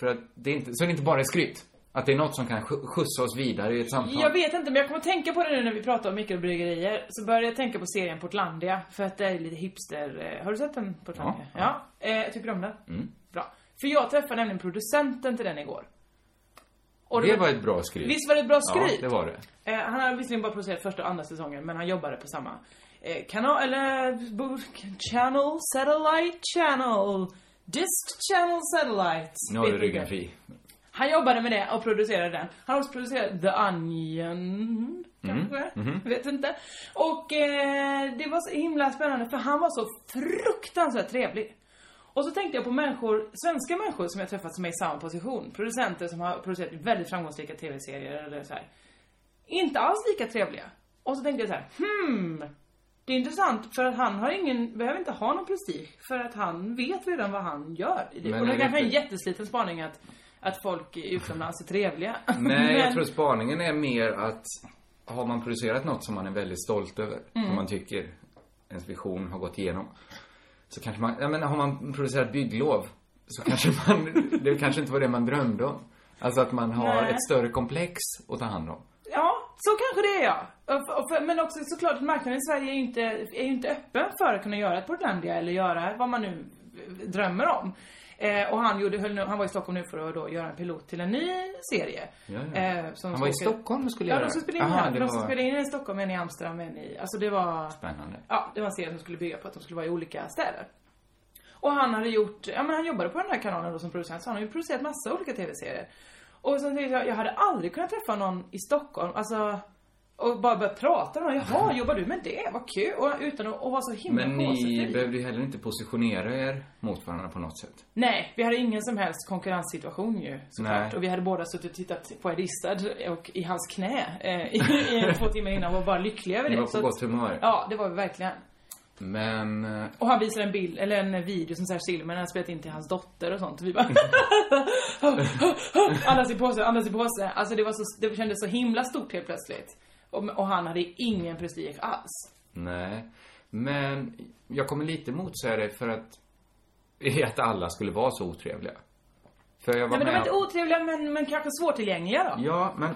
B: För att det är inte, så det inte bara är skryt. Att det är något som kan skj- skjutsa oss vidare i ett samtal.
A: jag vet inte, men jag kommer tänka på det nu när vi pratar om mikrobryggerier. Så började jag tänka på serien Portlandia, för att det är lite hipster... eh, Har du sett den, Portlandia?
B: Ja, Mm.
A: Ja. Eh, jag tycker om den. Bra. För jag träffade nämligen producenten till den igår. Och
B: det var ett bra skryt.
A: Visst var det ett bra
B: Ja,
A: skryt?
B: det var det.
A: Eh, han har visserligen bara producerat första och andra säsongen men han jobbade på samma eh, kanal, eller burk, channel, satellite channel, disc channel satellite.
B: Nu har
A: Vet
B: du
A: inte.
B: ryggen fri.
A: Han jobbade med det och producerade den. Han har också producerat The Onion, kanske?
B: Mm, mhm.
A: Vet inte. Och eh, det var så himla spännande för han var så fruktansvärt trevlig. Och så tänkte jag på människor, svenska människor som jag träffat som är i samma position. Producenter som har producerat väldigt framgångsrika tv-serier eller så här. Inte alls lika trevliga. Och så tänkte jag så här, hmm. Det är intressant för att han har ingen, behöver inte ha någon prestige för att han vet redan vad han gör. i det.
B: Men
A: och det
B: är
A: är
B: det
A: kanske är en
B: inte-
A: jättesliten spaning att, att folk utomlands är trevliga.
B: Nej, jag
A: Men-
B: tror spaningen är mer att har man producerat något som man är väldigt stolt över,
A: Mm.
B: som man tycker ens vision har gått igenom, så kanske man, jag menar har man producerat bygglov så kanske man, det kanske inte var det man drömde om. Alltså att man har
A: Nej.
B: ett större komplex att ta hand om.
A: Ja, så kanske det är ja. Och- och för- Men också såklart att marknaden i Sverige är ju inte, är ju inte öppen för att kunna göra ett Portlandia eller göra vad man nu eh, drömmer om. Eh, och han, gjorde, höll nu, han var i Stockholm nu för att då göra en pilot till en ny serie.
B: Ja, ja.
A: Eh, som
B: Han var i
A: ska åka-
B: Stockholm och skulle
A: Ja,
B: göra
A: de skulle spela in
B: Aha,
A: här.
B: det
A: De skulle
B: var-
A: spela in en i Stockholm, en i Amsterdam, en i... Alltså det var...
B: Spännande.
A: Ja, det var en serie som skulle bygga på att de skulle vara i olika städer. Och han hade gjort, ja men han jobbade på den här kanalen då som producent, så han har ju producerat massa olika tv-serier. Och sen tänkte jag, jag hade aldrig kunnat träffa någon i Stockholm, alltså och bara börja prata med någon. Jaha, jobbar du med det? Vad kul! Och utan att, att vara så himla
B: Men ni
A: kåsig.
B: behövde ju heller inte positionera er mot varandra på något sätt.
A: Nej, vi hade ingen som helst konkurrenssituation ju såklart.
B: Nej.
A: Och vi hade båda suttit och tittat på Edistad och i hans knä eh, i, i två timmar innan och var bara lyckliga över
B: Ni
A: det.
B: var
A: Så
B: på
A: att-
B: gott humör.
A: Ja, det var vi verkligen.
B: Men, eh,
A: Och han visar en bild, eller en video som Serge Silverman har spelat in till hans dotter och sånt. Och vi bara... andas i påse, andas i påse. Alltså det, var så, det kändes så himla stort helt plötsligt. Och, och han hade ingen prestige alls.
B: nej. Men jag kommer lite motsäga dig för att, i att alla skulle vara så otrevliga. För jag var
A: Nej, men de
B: med
A: var inte
B: om-
A: otrevliga men, men kanske svårtillgängliga då.
B: Ja, men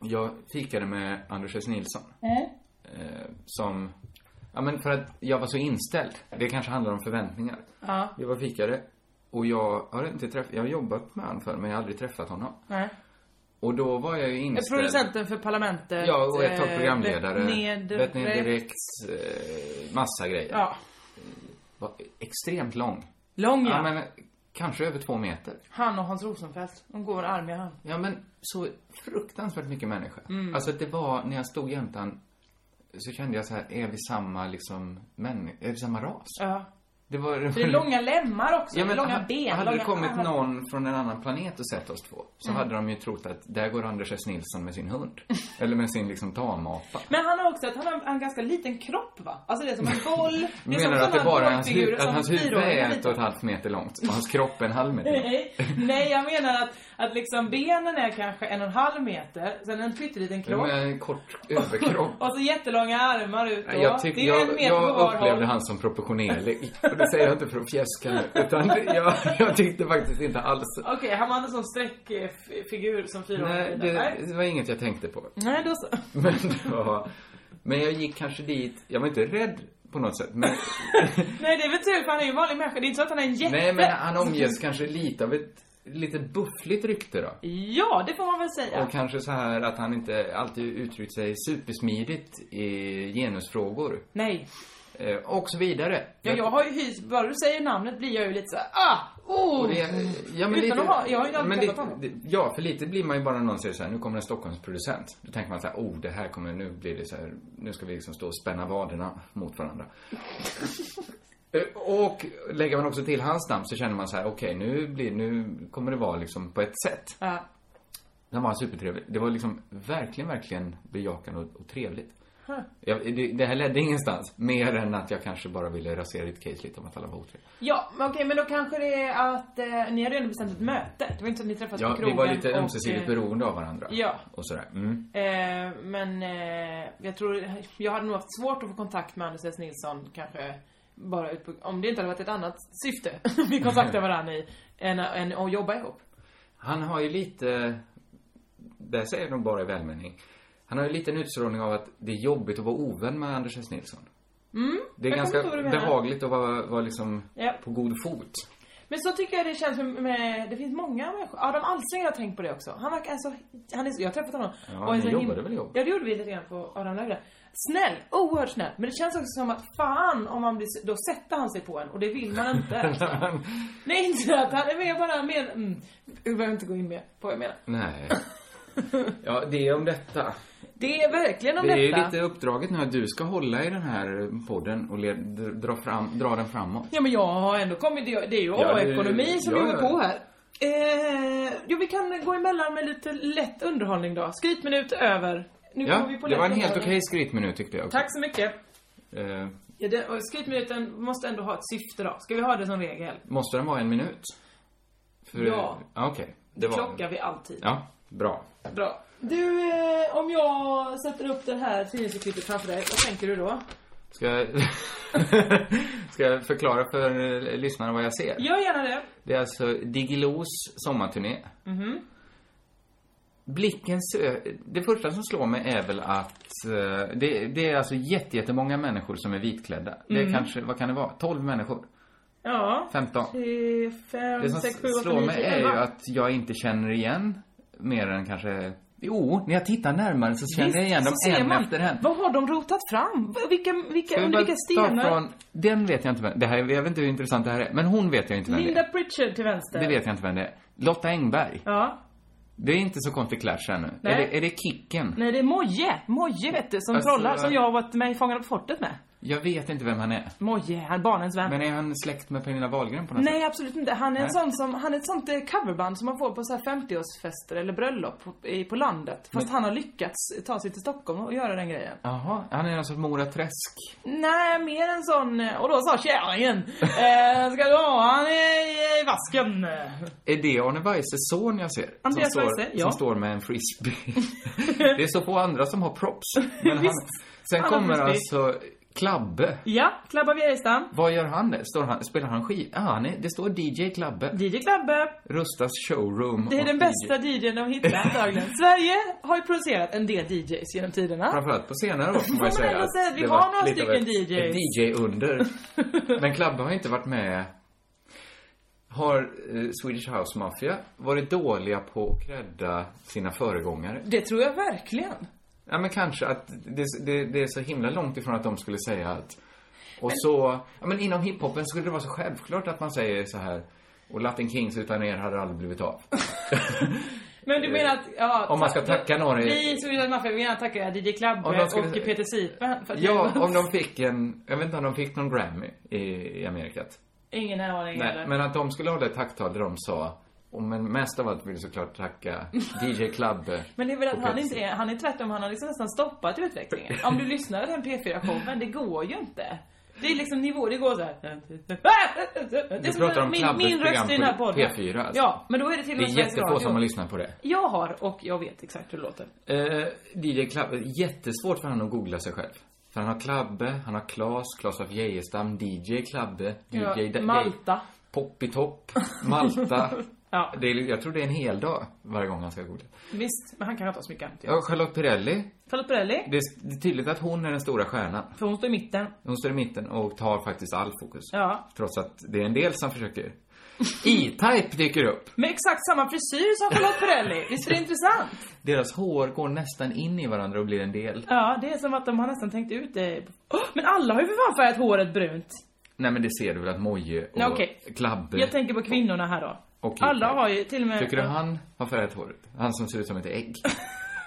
B: jag fikade med Anders S. Nilsson.
A: Mm.
B: Eh, som, ja men för att jag var så inställd. Det kanske handlar om förväntningar.
A: Ja.
B: Jag var fikare och jag har inte träffat, jag har jobbat med honom förr men jag har aldrig träffat honom.
A: Nej.
B: Och då var jag ju inställd.
A: Producenten för Parlamentet.
B: Ja, och ett tag
A: eh,
B: programledare.
A: Ned,
B: Bett ner direkt. Eh, massa grejer.
A: Ja.
B: Var extremt lång.
A: Lång ja.
B: Ja, men Kanske över två meter.
A: Han och Hans Rosenfeldt, de går arm i arm.
B: Ja, men så fruktansvärt mycket människa.
A: Mm.
B: Alltså det var, när jag stod jämte han, så kände jag så här, är vi samma liksom, män, är vi samma ras?
A: Ja.
B: Det var...
A: För det är långa lemmar också,
B: Ja, men
A: långa
B: ha-
A: ben.
B: Hade
A: långa
B: det kommit
A: armar.
B: någon från en annan planet och sett oss två så
A: Mm.
B: hade de ju trott att där går Anders S. Nilsson med sin hund. Eller med sin liksom tamapa.
A: Men han har också att han har en ganska liten kropp va? Alltså det är som en boll. är
B: Menar
A: som
B: du att det
A: sådana
B: bara är hans
A: rollfigurer
B: huvud, att
A: som
B: hans huvud
A: fyraåringar
B: är ett
A: ritar.
B: och ett halvt meter långt och hans kropp en halv meter lång?
A: Nej, nej, jag menar att, att liksom benen är kanske en och en halv meter, sen en pytteliten
B: Ja,
A: kropp.
B: men en kort överkropp.
A: Och så jättelånga armar ut då.
B: Jag, tyck,
A: det är en
B: jag,
A: meter på
B: jag
A: var
B: upplevde
A: håll.
B: han som proportionerlig. Och det säger jag inte för att fjäska nu, utan jag, jag tyckte faktiskt inte alls...
A: Okej, han var en sån streckfigur som fyraåring.
B: Nej,
A: ritar.
B: det, det var inget jag tänkte på.
A: Nej, då så.
B: Men det var... Men jag gick kanske dit, jag var inte rädd på något sätt, men
A: Nej, det är väl tur för han är ju en vanlig människa. Det är inte så att han är en jätte.
B: Nej, men han omges kanske lite av ett lite buffligt rykte då.
A: Ja, det får man väl säga.
B: Och kanske så här att han inte alltid uttryckt sig supersmidigt i genusfrågor.
A: Nej.
B: Eh, Och så vidare.
A: Ja, jag har ju hyst, bara du säger namnet blir jag ju lite såhär, ah, oh!
B: Och det, ja, men
A: Utan
B: lite,
A: att ha, jag har ju aldrig
B: men
A: träffat
B: det-
A: honom.
B: det- Ja, för lite blir man ju bara när någon säger så här, nu kommer en Stockholmsproducent. Då tänker man så här, oh, det här kommer, nu blir det så här, nu ska vi liksom stå och spänna vaderna mot varandra. Eh, och lägger man också till hans namn så känner man så här, okej, nu blir, nu kommer det vara liksom på ett sätt.
A: Ja.
B: Den var supertrevlig. Det var liksom verkligen, verkligen bejakande och, och trevligt.
A: Huh.
B: Jag, det, det här ledde ingenstans, mer än att jag kanske bara ville rasera ditt case lite om att alla var otrevliga.
A: Ja, men okej, men då kanske det är att eh, ni hade ju ändå bestämt ett möte. Det var inte så att ni träffades
B: Ja,
A: på
B: vi
A: krogen
B: var lite
A: och,
B: ömsesidigt
A: eh,
B: beroende av varandra.
A: Ja.
B: Och sådär. Mm.
A: Eh, men eh, jag tror, jag hade nog haft svårt att få kontakt med Anders S. Nilsson kanske bara ut på, om det inte hade varit ett annat syfte vi kontaktade varandra i, än, än att jobba ihop.
B: Han har ju lite, det säger de bara i välmening, han har ju lite en utstrålning av att det är jobbigt att vara ovän med Anders S. Nilsson.
A: Mm,
B: Det är
A: jag kommer
B: ganska
A: inte ihåg vad du menar.
B: behagligt att vara, vara liksom
A: Ja.
B: på god fot.
A: Men så tycker jag det känns med, med det finns många människor. Adam Alsing har tänkt på det också. Han verkar alltså, han är så, jag har träffat honom.
B: Ja,
A: är
B: ni
A: så him-
B: jobbade väl ihop?
A: Ja, det gjorde vi lite grann på Adam Löfgren. Snäll, oerhört snäll. Men det känns också som att fan om man blir, s- då sätter han sig på en och det vill man inte. Nej, inte att han är med bara med, mm, jag behöver inte gå in mer på vad jag menar.
B: Nej. Ja, det är om detta.
A: Det är verkligen om
B: det är ju
A: detta.
B: lite uppdraget nu att du ska hålla i den här podden och led, dra, fram, dra den framåt.
A: Ja men jag har ändå kommit, det det är ju
B: Ja, det-
A: A-ekonomi som
B: ja,
A: vi håller
B: ja.
A: på här. Eh, jo vi kan gå emellan med lite lätt underhållning då. Skrytminut över. Nu
B: ja,
A: kommer vi på
B: det
A: lätt
B: var en helt
A: underhållning.
B: okej skrytminut tyckte jag. också.
A: Tack så mycket.
B: Eh,
A: Ja, det, och skrytminuten måste ändå ha ett syfte då. Ska vi ha det som regel?
B: måste den vara en minut? För,
A: Ja.
B: Okej.
A: Det klockar vi alltid.
B: Ja, bra.
A: Bra. Du, eh, om jag sätter upp det här tidningsurklippet framför dig, vad tänker du då?
B: Ska jag, ska jag förklara för eh, lyssnarna vad jag ser?
A: Gör gärna det.
B: Det är alltså Digilos sommarturné.
A: Mhm.
B: Blicken sö... Det första som slår mig är väl att eh, det, det är alltså jätte, jättemånga människor som är vitklädda. Det är
A: Mm.
B: kanske, vad kan det vara? 12 människor?
A: Ja.
B: 15?
A: Tre,
B: Det
A: fem, Mm,
B: som
A: sex, sju, åtta,
B: slår
A: nio,
B: mig
A: tio,
B: är ju
A: elva.
B: att jag inte känner igen mer än kanske... Jo, när jag tittar närmare så känner jag igen dem
A: så ser
B: en
A: man.
B: efter en.
A: Vad har de rotat fram? Vilka, vilka,
B: Ska vi
A: under
B: bara
A: vilka
B: ta
A: stenar?
B: Från, den vet jag inte vem, det här, jag vet inte hur intressant det här är, men hon vet jag inte vem
A: Linda Pritchard till
B: det
A: vänster.
B: är. Det vet jag inte vem det är. Lotta Engberg.
A: Ja.
B: Det är inte så konstig clash ännu.
A: Nej.
B: Är det, är det Kicken?
A: Nej, det är Moje. Moje vet du, som
B: Alltså,
A: trollar.
B: jag-
A: Som jag har varit med i Fångarna på fortet med.
B: Jag vet inte vem han är.
A: Moje, han är barnens vän.
B: Men är han släkt med Pernilla Wahlgren på något
A: Nej,
B: sätt?
A: absolut inte. Han är, en
B: Nej.
A: sån som, han är ett sånt eh, coverband som man får på så här 50-årsfester eller bröllop på, i, på landet. Fast han har lyckats eh, ta sig till Stockholm och göra den grejen.
B: Jaha, han är alltså Mora Träsk.
A: Nej, mer en sån... eh, Och då sa kärringen, eh, ska du ha han i, i vasken?
B: Är det Arne Weises son jag ser?
A: Andreas
B: som står,
A: Weise, ja.
B: Som står med en frisbee. det är så få andra som har props. Men han,
A: Han
B: sen
A: har
B: kommer
A: frisbee.
B: alltså Klabbe.
A: Ja, Klabba Wierstam.
B: Vad gör han där? Står han, spelar han skiv? Ah, han är, det står DJ Klabbe.
A: DJ Klabbe.
B: Rustas showroom.
A: Det är
B: och
A: den
B: DJ.
A: bästa DJn de hittar antagligen. Sverige har ju producerat en del DJs genom tiderna.
B: Framförallt på senare år får man ju
A: Får man
B: säga
A: ändå
B: att
A: säga att vi
B: det
A: har
B: varit
A: några
B: lite av
A: stycken
B: ett-
A: DJs.
B: Ett DJ-under. Men Klabbe har inte varit med. Har eh, Swedish House Mafia varit dåliga på att credda sina föregångare?
A: Det tror jag verkligen.
B: Ja, men kanske att det, det, det är så himla långt ifrån att de skulle säga att... Och så... Ja, men inom hiphopen skulle det vara så självklart att man säger så här... Och Latin Kings utan er hade aldrig blivit av.
A: Men du menar att, ja,
B: Om man ska tacka någon i-
A: Vi som gillar maffian, vi gärna tacka DJ Klabbe
B: Om de skulle-
A: och Peter Sipen för att
B: Ja, om de fick en, jag vet inte om de fick någon Grammy i, i Amerikat.
A: Ingen aning
B: Nej, men att de skulle hålla ett tacktal där de sa, och men mest av allt vill jag såklart tacka DJ Klabbe.
A: Men det är väl att
B: och
A: han
B: Peter
A: inte är, han är tvärtom, han har liksom nästan stoppat utvecklingen. Om du lyssnar på den P4-showen, det går ju inte. Det är liksom nivå, det går så här. Det är som
B: pratar om
A: min,
B: Klabbes
A: min röst
B: program
A: i den här
B: på
A: podden.
B: P4 alltså.
A: Ja, men då är det till och
B: Det
A: med
B: är
A: Sveriges
B: jättefå
A: Radio.
B: som har lyssnat på det.
A: Jag har och jag vet exakt hur det låter.
B: Eh, DJ Klabbe, jättesvårt för han att googla sig själv. För han har Klabbe, han har Klas, Klas af Geijerstam, DJ Klabbe, DJ...
A: Ja,
B: Da-
A: Malta.
B: Poppitopp, Malta.
A: Ja.
B: det är, jag tror det är en hel dag varje gång han ska googla.
A: Visst, men han kan inte ha så mycket annat.
B: Ja, Charlotte Perrelli.
A: Charlotte Perrelli,
B: Det är, det är tydligt att hon är den stora stjärnan.
A: för hon står i mitten.
B: Hon står i mitten och tar faktiskt all fokus.
A: Ja.
B: Trots att det är en del som försöker. E-Type dyker upp.
A: Med exakt samma frisyr som Charlotte Perrelli. Visst är det intressant?
B: Deras hår går nästan in i varandra och blir en del.
A: Ja, det är som att de har nästan tänkt ut det. Åh, men alla har ju för fan färgat håret brunt.
B: Nej men det ser du väl att Moje och
A: Ja, okej.
B: Klabbe
A: Jag tänker på kvinnorna här då.
B: och
A: Alla
B: E-Type.
A: har ju till och med...
B: Tycker du han har färgat håret? Han som ser ut som ett ägg.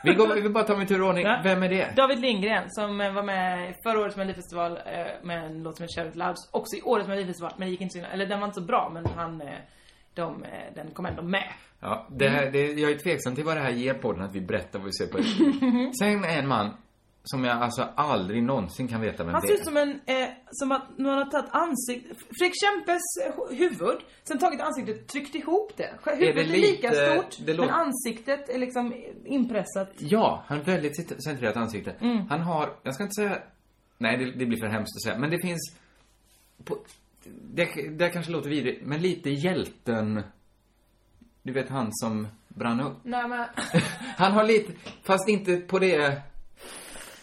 B: Vi går, vi bara tar med tur och ordning.
A: Ja.
B: Vem är det?
A: David Lindgren som eh, var med i förra årets melodifestival eh, med en låt som heter Shout It Louds. Också i årets melodifestival, men det gick inte så himla- Eller den var inte så bra, men han... eh, De, eh, den kom ändå med.
B: Ja, det här, det, jag är tveksam till vad det här ger podden, att vi berättar vad vi ser på YouTube. Sen är en man som jag alltså aldrig någonsin kan veta vem
A: Han
B: det
A: ser ut
B: är.
A: som en, eh, som att någon har tagit ansiktet, Fredrik Kempes eh, huvud, sen tagit ansiktet och tryckt ihop det. Sj- Huvudet är,
B: lite-
A: lika stort,
B: det låter-
A: men ansiktet är liksom inpressat.
B: Ja, han har ett väldigt cent- centrerat ansikte.
A: Mm.
B: Han har, jag ska inte säga, nej det, det blir för hemskt att säga, men det finns, på, det, det här kanske låter vidrigt, men lite hjälten, du vet han som brann upp.
A: Nej men,
B: Han har lite, fast inte på det,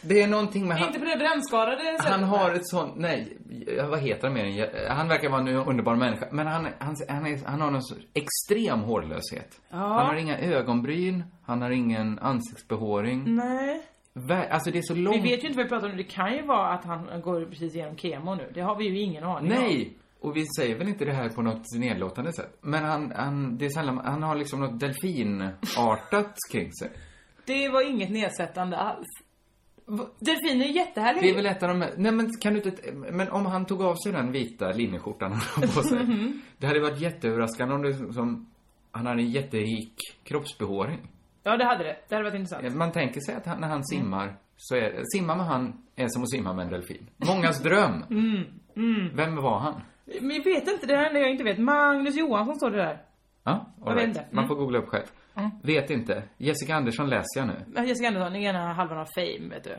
B: det är någonting med han.
A: inte på det brännskadade sättet.
B: Han har ett sånt, nej, eh, vad heter han mer än, eh, han verkar vara en underbar människa, men han, han, han, är, han har någon sorts extrem hårlöshet.
A: Ja.
B: Han har inga ögonbryn, han har ingen ansiktsbehåring.
A: Nej.
B: Ver, alltså det är så långt.
A: Vi vet ju inte vad vi pratar om nu. Det kan ju vara att han går precis igenom kemo nu. Det har vi ju ingen aning om.
B: Nej! Och vi säger väl inte det här på något nedlåtande sätt. Men han, han, det är sällan, han har liksom något delfinartat kring sig.
A: Det var inget nedsättande alls. Va- Delfiner är jättehärliga
B: Det är väl ett av de här- Nej men kan du inte... Men om han tog av sig den vita linneskjortan han har på sig.
A: Mm-hmm.
B: Det hade varit jätteöverraskande om det som... Han hade en jätterik kroppsbehåring.
A: Ja, det hade det. Det hade varit intressant.
B: Man tänker sig att han,
A: Mm.
B: när han simmar så är Simma med han är som att simma med en delfin. Mångas dröm.
A: Mm, mm.
B: Vem var han?
A: Men jag vet inte. Det är det enda jag inte vet. Magnus Johansson står det där.
B: Ja, all
A: Jag vet
B: right.
A: inte.
B: Man
A: Mm.
B: får googla upp själv.
A: Mm.
B: Vet inte. Jessica Andersson läser jag nu.
A: Men Jessica Andersson, den ena halvan av Fame, vet du.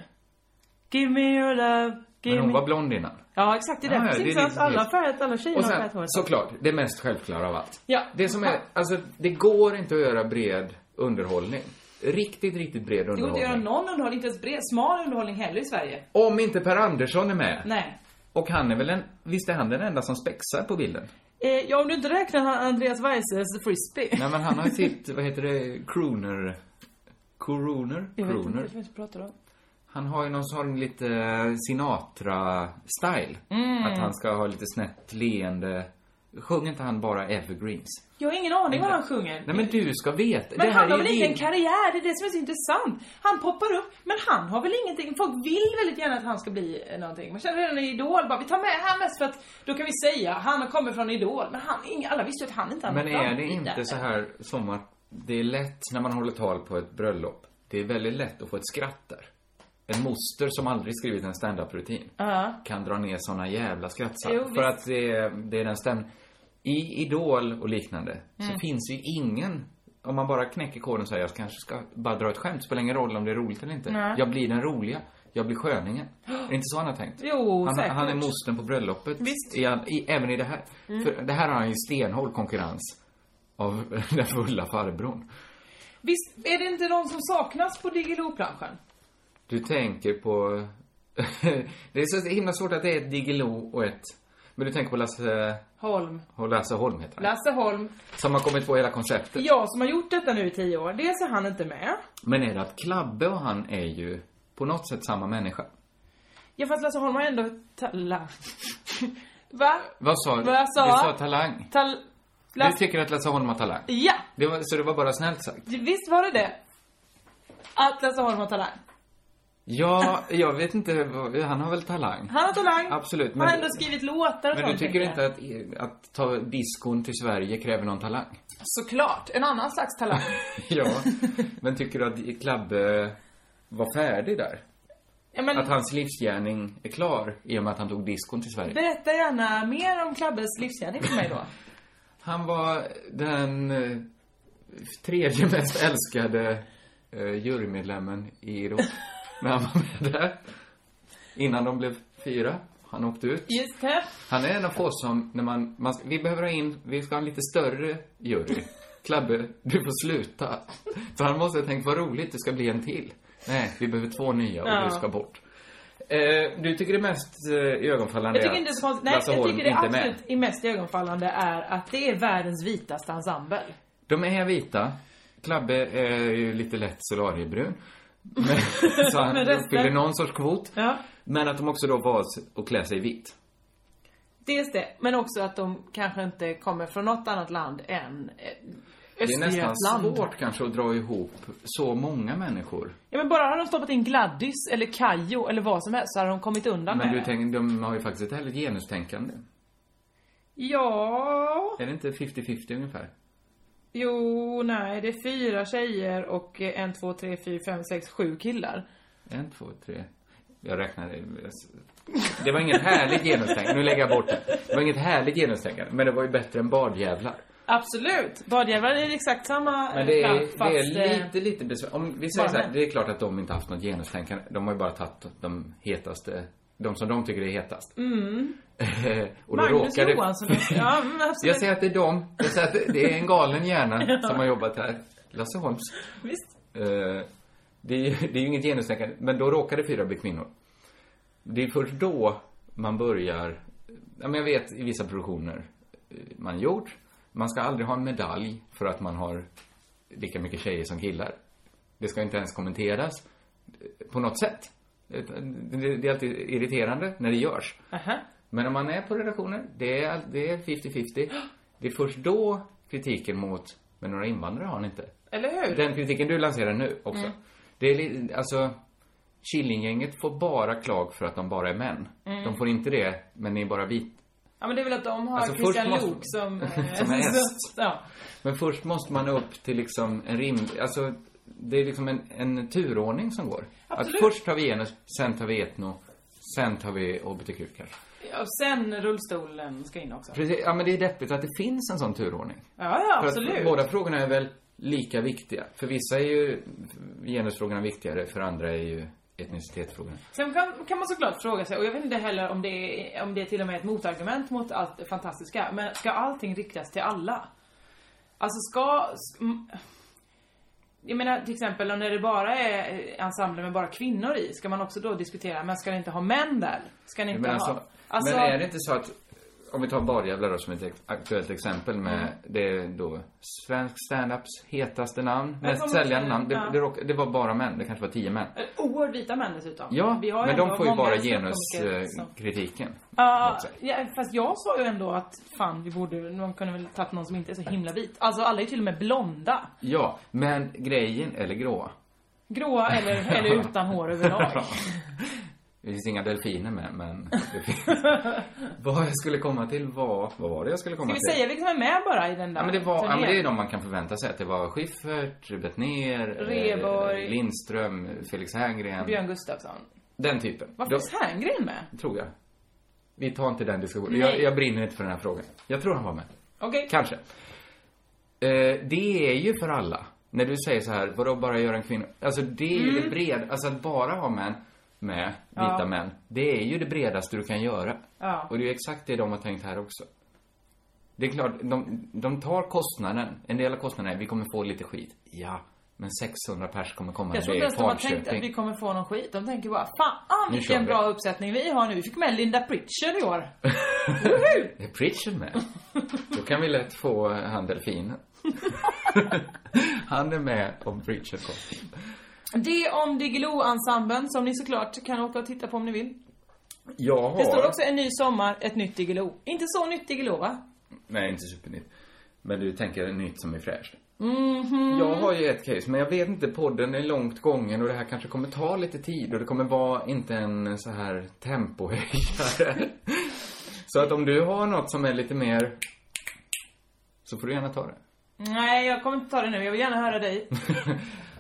A: Give me your love, give
B: Men hon
A: me...
B: var blond innan.
A: Ja, exakt. Det är
B: Ja,
A: därför
B: ja,
A: det är
B: det är
A: så att
B: liksom
A: alla har
B: helt-
A: färgat, alla tjejer
B: Och
A: har färgat
B: sen,
A: håret.
B: såklart, det mest självklara av allt.
A: Ja.
B: Det som är, alltså, det går inte att göra bred underhållning. Riktigt, riktigt bred
A: Det går inte att göra
B: underhållning.
A: någon underhållning, inte ens bred, smal underhållning heller i Sverige.
B: Om inte Per Andersson är med.
A: Nej.
B: Och han är väl en, visst är han den enda som spexar på bilden?
A: Eh, ja, om du inte räknar han Andreas Weises frisbee.
B: Nej men han har sitt, vad heter det, crooner... Coroner?
A: Jag vet inte
B: Crooner.
A: vad du pratar om.
B: Han har ju någon sån lite eh, Sinatra-style.
A: Mm.
B: Att han ska ha lite snett leende. Sjunger inte han bara evergreens?
A: Jag har ingen aning vad han sjunger.
B: Nej men du ska veta.
A: Men
B: det här
A: han har
B: är
A: väl
B: ju
A: inte
B: din-
A: en karriär? Det är det som är så intressant. Han poppar upp, men han har väl ingenting. Folk vill väldigt gärna att han ska bli eh, någonting. Man känner redan i Idol, bara, vi tar med han mest för att då kan vi säga, han kommer från Idol. Men han, ing- alla visste ju att han inte hade
B: Men
A: någon
B: är det
A: framtid där.
B: inte så här som att det är lätt när man håller tal på ett bröllop. Det är väldigt lätt att få ett skratt där. En moster som aldrig skrivit en standup-rutin
A: Ja.
B: kan dra ner såna jävla skrattsar.
A: Jo,
B: för
A: visst.
B: att det är, det är den stämningen. I Idol och liknande
A: Mm.
B: så finns ju ingen om man bara knäcker koden och säger jag kanske ska bara dra ett skämt, spelar ingen roll om det är roligt eller inte.
A: Nej.
B: Jag blir den roliga. Jag blir sköningen. Är det inte så han har tänkt?
A: Jo,
B: han,
A: säkert.
B: han är mostern på bröllopet.
A: Visst.
B: I, all- i, även i det här.
A: Mm.
B: För det här har han ju stenhård konkurrens av den fulla farbrorn.
A: Visst är det inte någon som saknas på Diggiloo-planschen?
B: Du tänker på... det är så himla svårt att det är ett Diggiloo och ett... Men du tänker på Lasse...
A: Holm.
B: Lasse Holm heter han.
A: Lasse Holm.
B: Som har kommit på hela konceptet.
A: Jag som har gjort detta nu i tio år. Dels är han inte med.
B: Men är det att Klabbe och han är ju på något sätt samma människa?
A: Ja fast Lasse Holm har ändå talang. Va?
B: Vad sa du?
A: Vad jag sa?
B: Du sa talang.
A: Tal...
B: Du tycker att Lasse Holm har talang?
A: Ja,
B: Det var, så det var bara snällt sagt?
A: visst var det det? Att Lasse Holm har talang.
B: Ja, jag vet inte. vad- Han har väl talang?
A: Han har talang.
B: Absolut,
A: Han
B: men-
A: har ändå skrivit låtar och
B: Men du
A: sånt,
B: tycker
A: tänker
B: inte att, att ta diskon till Sverige kräver någon talang?
A: Såklart. En annan slags talang.
B: Ja. Men tycker du att Klabbe var färdig där?
A: Ja, men-
B: Att hans livsgärning är klar i och med att han tog diskon till Sverige?
A: Berätta gärna mer om Klabbes livsgärning för mig då.
B: Han var den eh, tredje mest älskade eh, jurymedlemmen i Europa när han var med där. Innan de blev fyra. Han åkte ut.
A: Just det.
B: Han är en av få som, när man, man vi behöver ha in, vi ska ha en lite större jury. Klabbe, du får sluta. För han måste ha tänkt, vad roligt, det ska bli en till. Nej, vi behöver två nya och
A: Ja.
B: du ska bort. Eh, du tycker det mest eh, iögonfallande
A: Jag tycker
B: är
A: inte det är
B: att
A: så konstigt. Nej,
B: Lasse
A: jag
B: Holm
A: tycker det
B: inte är med.
A: absolut är mest iögonfallande är att det är världens vitaste ensemble.
B: De är vita. Klabbe är ju lite lätt solariebrun. Men, så han
A: Men resten-
B: uppfyller någon sorts kvot.
A: Ja.
B: Men att de också då valts att klä sig i vitt.
A: Dels det, men också att de kanske inte kommer från något annat land än eh,
B: Det är nästan
A: Östergötland.
B: svårt kanske att dra ihop så många människor.
A: Ja men bara hade de stoppat in Gladys eller Kajo eller vad som helst så hade de kommit undan
B: Men
A: med
B: du
A: det.
B: tänker, de har ju faktiskt ett härligt genustänkande.
A: Ja.
B: Är det inte 50-50 ungefär?
A: Jo, nej, det är fyra tjejer och eh, en, två, tre, fyra, fem, sex, sju killar.
B: En, två, tre. Jag räknade. Det var inget härligt genustänkande. Nu lägger jag bort det. Det var inget härligt genustänkande. Men det var ju bättre än bardjävlar.
A: Absolut! Badjävlar är exakt samma
B: Men det
A: plagg,
B: är, det
A: fast, eh,
B: är lite, lite besvär. Om vi säger
A: bara
B: så här,
A: män.
B: det är klart att de inte haft något genustänkande. De har ju bara tagit de hetaste, de som de tycker är hetast.
A: Mm.
B: och då
A: Magnus
B: råkar det...
A: Johansson. Ja, Alltså, men absolut.
B: Jag säger att det är de. Jag säger att det- det är en galen hjärna
A: Ja.
B: som har jobbat här. Lasse Holms.
A: Visst.
B: Eh, det, är, ju- det är ju inget genustänkande. Men då råkar det fyra bli kvinnor. Det är först då man börjar... Ja, men jag vet i vissa produktioner eh, man gjort. Man ska aldrig ha en medalj för att man har lika mycket tjejer som killar. Det ska inte ens kommenteras eh, på något sätt. Utan Det det är alltid irriterande när det görs.
A: Aha.
B: Men om man är på redaktioner, det är, all- det är 50-50. Det är först då kritiken mot, men några invandrare har ni inte.
A: Eller hur?
B: Den kritiken du lanserar nu också.
A: Mm.
B: Det är li- alltså, Killinggänget får bara klag för att de bara är män.
A: Mm.
B: De får inte det, men ni är bara vit.
A: Ja men det är väl att de har
B: Alltså, först
A: Christian
B: måste-
A: Lok som... eh,
B: Som är
A: så-
B: häst.
A: ja.
B: Men först måste man upp till liksom en rim... Alltså, det är liksom en, en turordning som går.
A: Absolut.
B: Att först tar vi genus, sen tar vi etno, sen tar vi hbtq kanske.
A: Ja, och sen rullstolen ska in också.
B: Precis, ja men det är deppigt att det finns en sån turordning.
A: Ja, ja,
B: För att
A: absolut.
B: båda frågorna är väl lika viktiga. För vissa är ju genusfrågorna viktigare, för andra är ju etnicitetsfrågorna.
A: Sen kan, kan man såklart fråga sig, och jag vet inte heller om det, är, om det är till och med ett motargument mot allt det fantastiska, men ska allting riktas till alla? Alltså ska... s- m- Jag menar till exempel om när det bara är eh, ensemble med bara kvinnor i, ska man också då diskutera, men ska ni inte ha män där? Ska ni
B: Jag
A: inte
B: menar,
A: ha...
B: alltså, men är det inte så att, om vi tar Barjävlar då som ett aktuellt exempel med,
A: Mm.
B: det är då svensk standups hetaste namn,
A: Men som
B: mest
A: man
B: säljande
A: säger,
B: namn. Det,
A: ja.
B: det, råk, det var bara män, det kanske var tio män.
A: Eh, Oerhört vita män dessutom.
B: Ja,
A: Vi har
B: men
A: ändå
B: de får ju
A: många
B: bara eh,
A: ståuppkomiker som-
B: genuskritiken.
A: liksom. Ja, ja, fast jag sa ju ändå att fan, vi borde, någon kunde väl tagit någon som inte är så himla vit. Alltså alla är ju till och med blonda.
B: Ja, men grejen, eller gråa.
A: Gråa eller, eller utan hår överlag.
B: Det finns inga delfiner med, men det finns... vad jag skulle komma till var... Vad var det jag skulle komma
A: Ska vi
B: till?
A: säga vilka som är med bara i den där
B: Ja, men det var... Ja,
A: turnén?
B: men det är de man kan förvänta sig. Att det var Schiffert, Bettner, eh,
A: Rheborg.
B: Lindström, Felix Herngren.
A: Björn Gustafsson.
B: Den typen.
A: Var
B: De-
A: finns Herngren med?
B: Tror jag. Vi tar inte den diskussionen.
A: Nej.
B: Jag, jag brinner inte för den här frågan. Jag tror han var med.
A: Okej.
B: Kanske. Eh, det är ju för alla. När du säger så här, vadå bara göra en kvinna? Alltså det är ju det breda, alltså att bara ha män med, vita
A: Mm. Ja.
B: män, det är ju det bredaste du kan göra.
A: Ja.
B: Och det är ju exakt det de har tänkt här också. Det är klart, de, de tar kostnaden. En del av kostnaden är, vi kommer få lite skit. Ja, men 600 pers kommer komma
A: Jag
B: när
A: tror inte
B: det
A: ens
B: är
A: de har tänkt att
B: Falköping.
A: vi kommer få någon skit. De tänker bara, fan
B: Nu kör
A: vilken
B: vi."
A: bra uppsättning vi har nu. Vi fick med Linda Pritchard i år.
B: Är Pritchard med? Då kan vi lätt få eh, han delfinen. han är med om Pritchard kommer.
A: Det om Diggiloo-ensemblen som ni såklart kan åka och titta på om ni vill.
B: Jag har...
A: Det står också en ny sommar, ett nytt Diggiloo. Inte så nytt Diggiloo va?
B: Nej, inte supernytt. Men du tänker nytt som är fräscht.
A: Mhm.
B: Jag har ju ett case, men jag vet inte, podden är långt gången och det här kanske kommer ta lite tid och det kommer vara inte en så här tempohöjare. så att om du har något som är lite mer så får du gärna ta det.
A: Nej, jag kommer inte ta det nu. Jag vill gärna höra dig.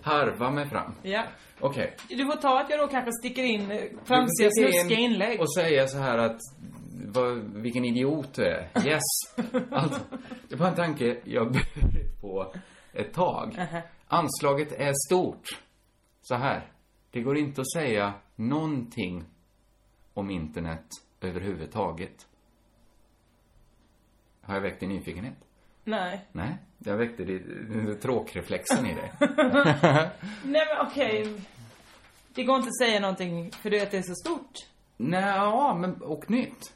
B: Harva mig fram.
A: Ja.
B: Okej.
A: Du får ta att jag då kanske sticker in eh,
B: Du
A: framsida
B: sticker in
A: snuskiga inlägg.
B: Och säga så här att, vad, vilken idiot du är. Yes. Allt, det var en tanke jag burit på ett tag.
A: Mhm.
B: Anslaget är stort. Så här. Det går inte att säga någonting om internet överhuvudtaget. Har jag väckt din nyfikenhet?
A: Nej.
B: Nej, jag väckte din- tråkreflexen i dig.
A: Nej men okej. Det går inte att säga någonting för du vet det är så stort.
B: Nej, ja, men och nytt.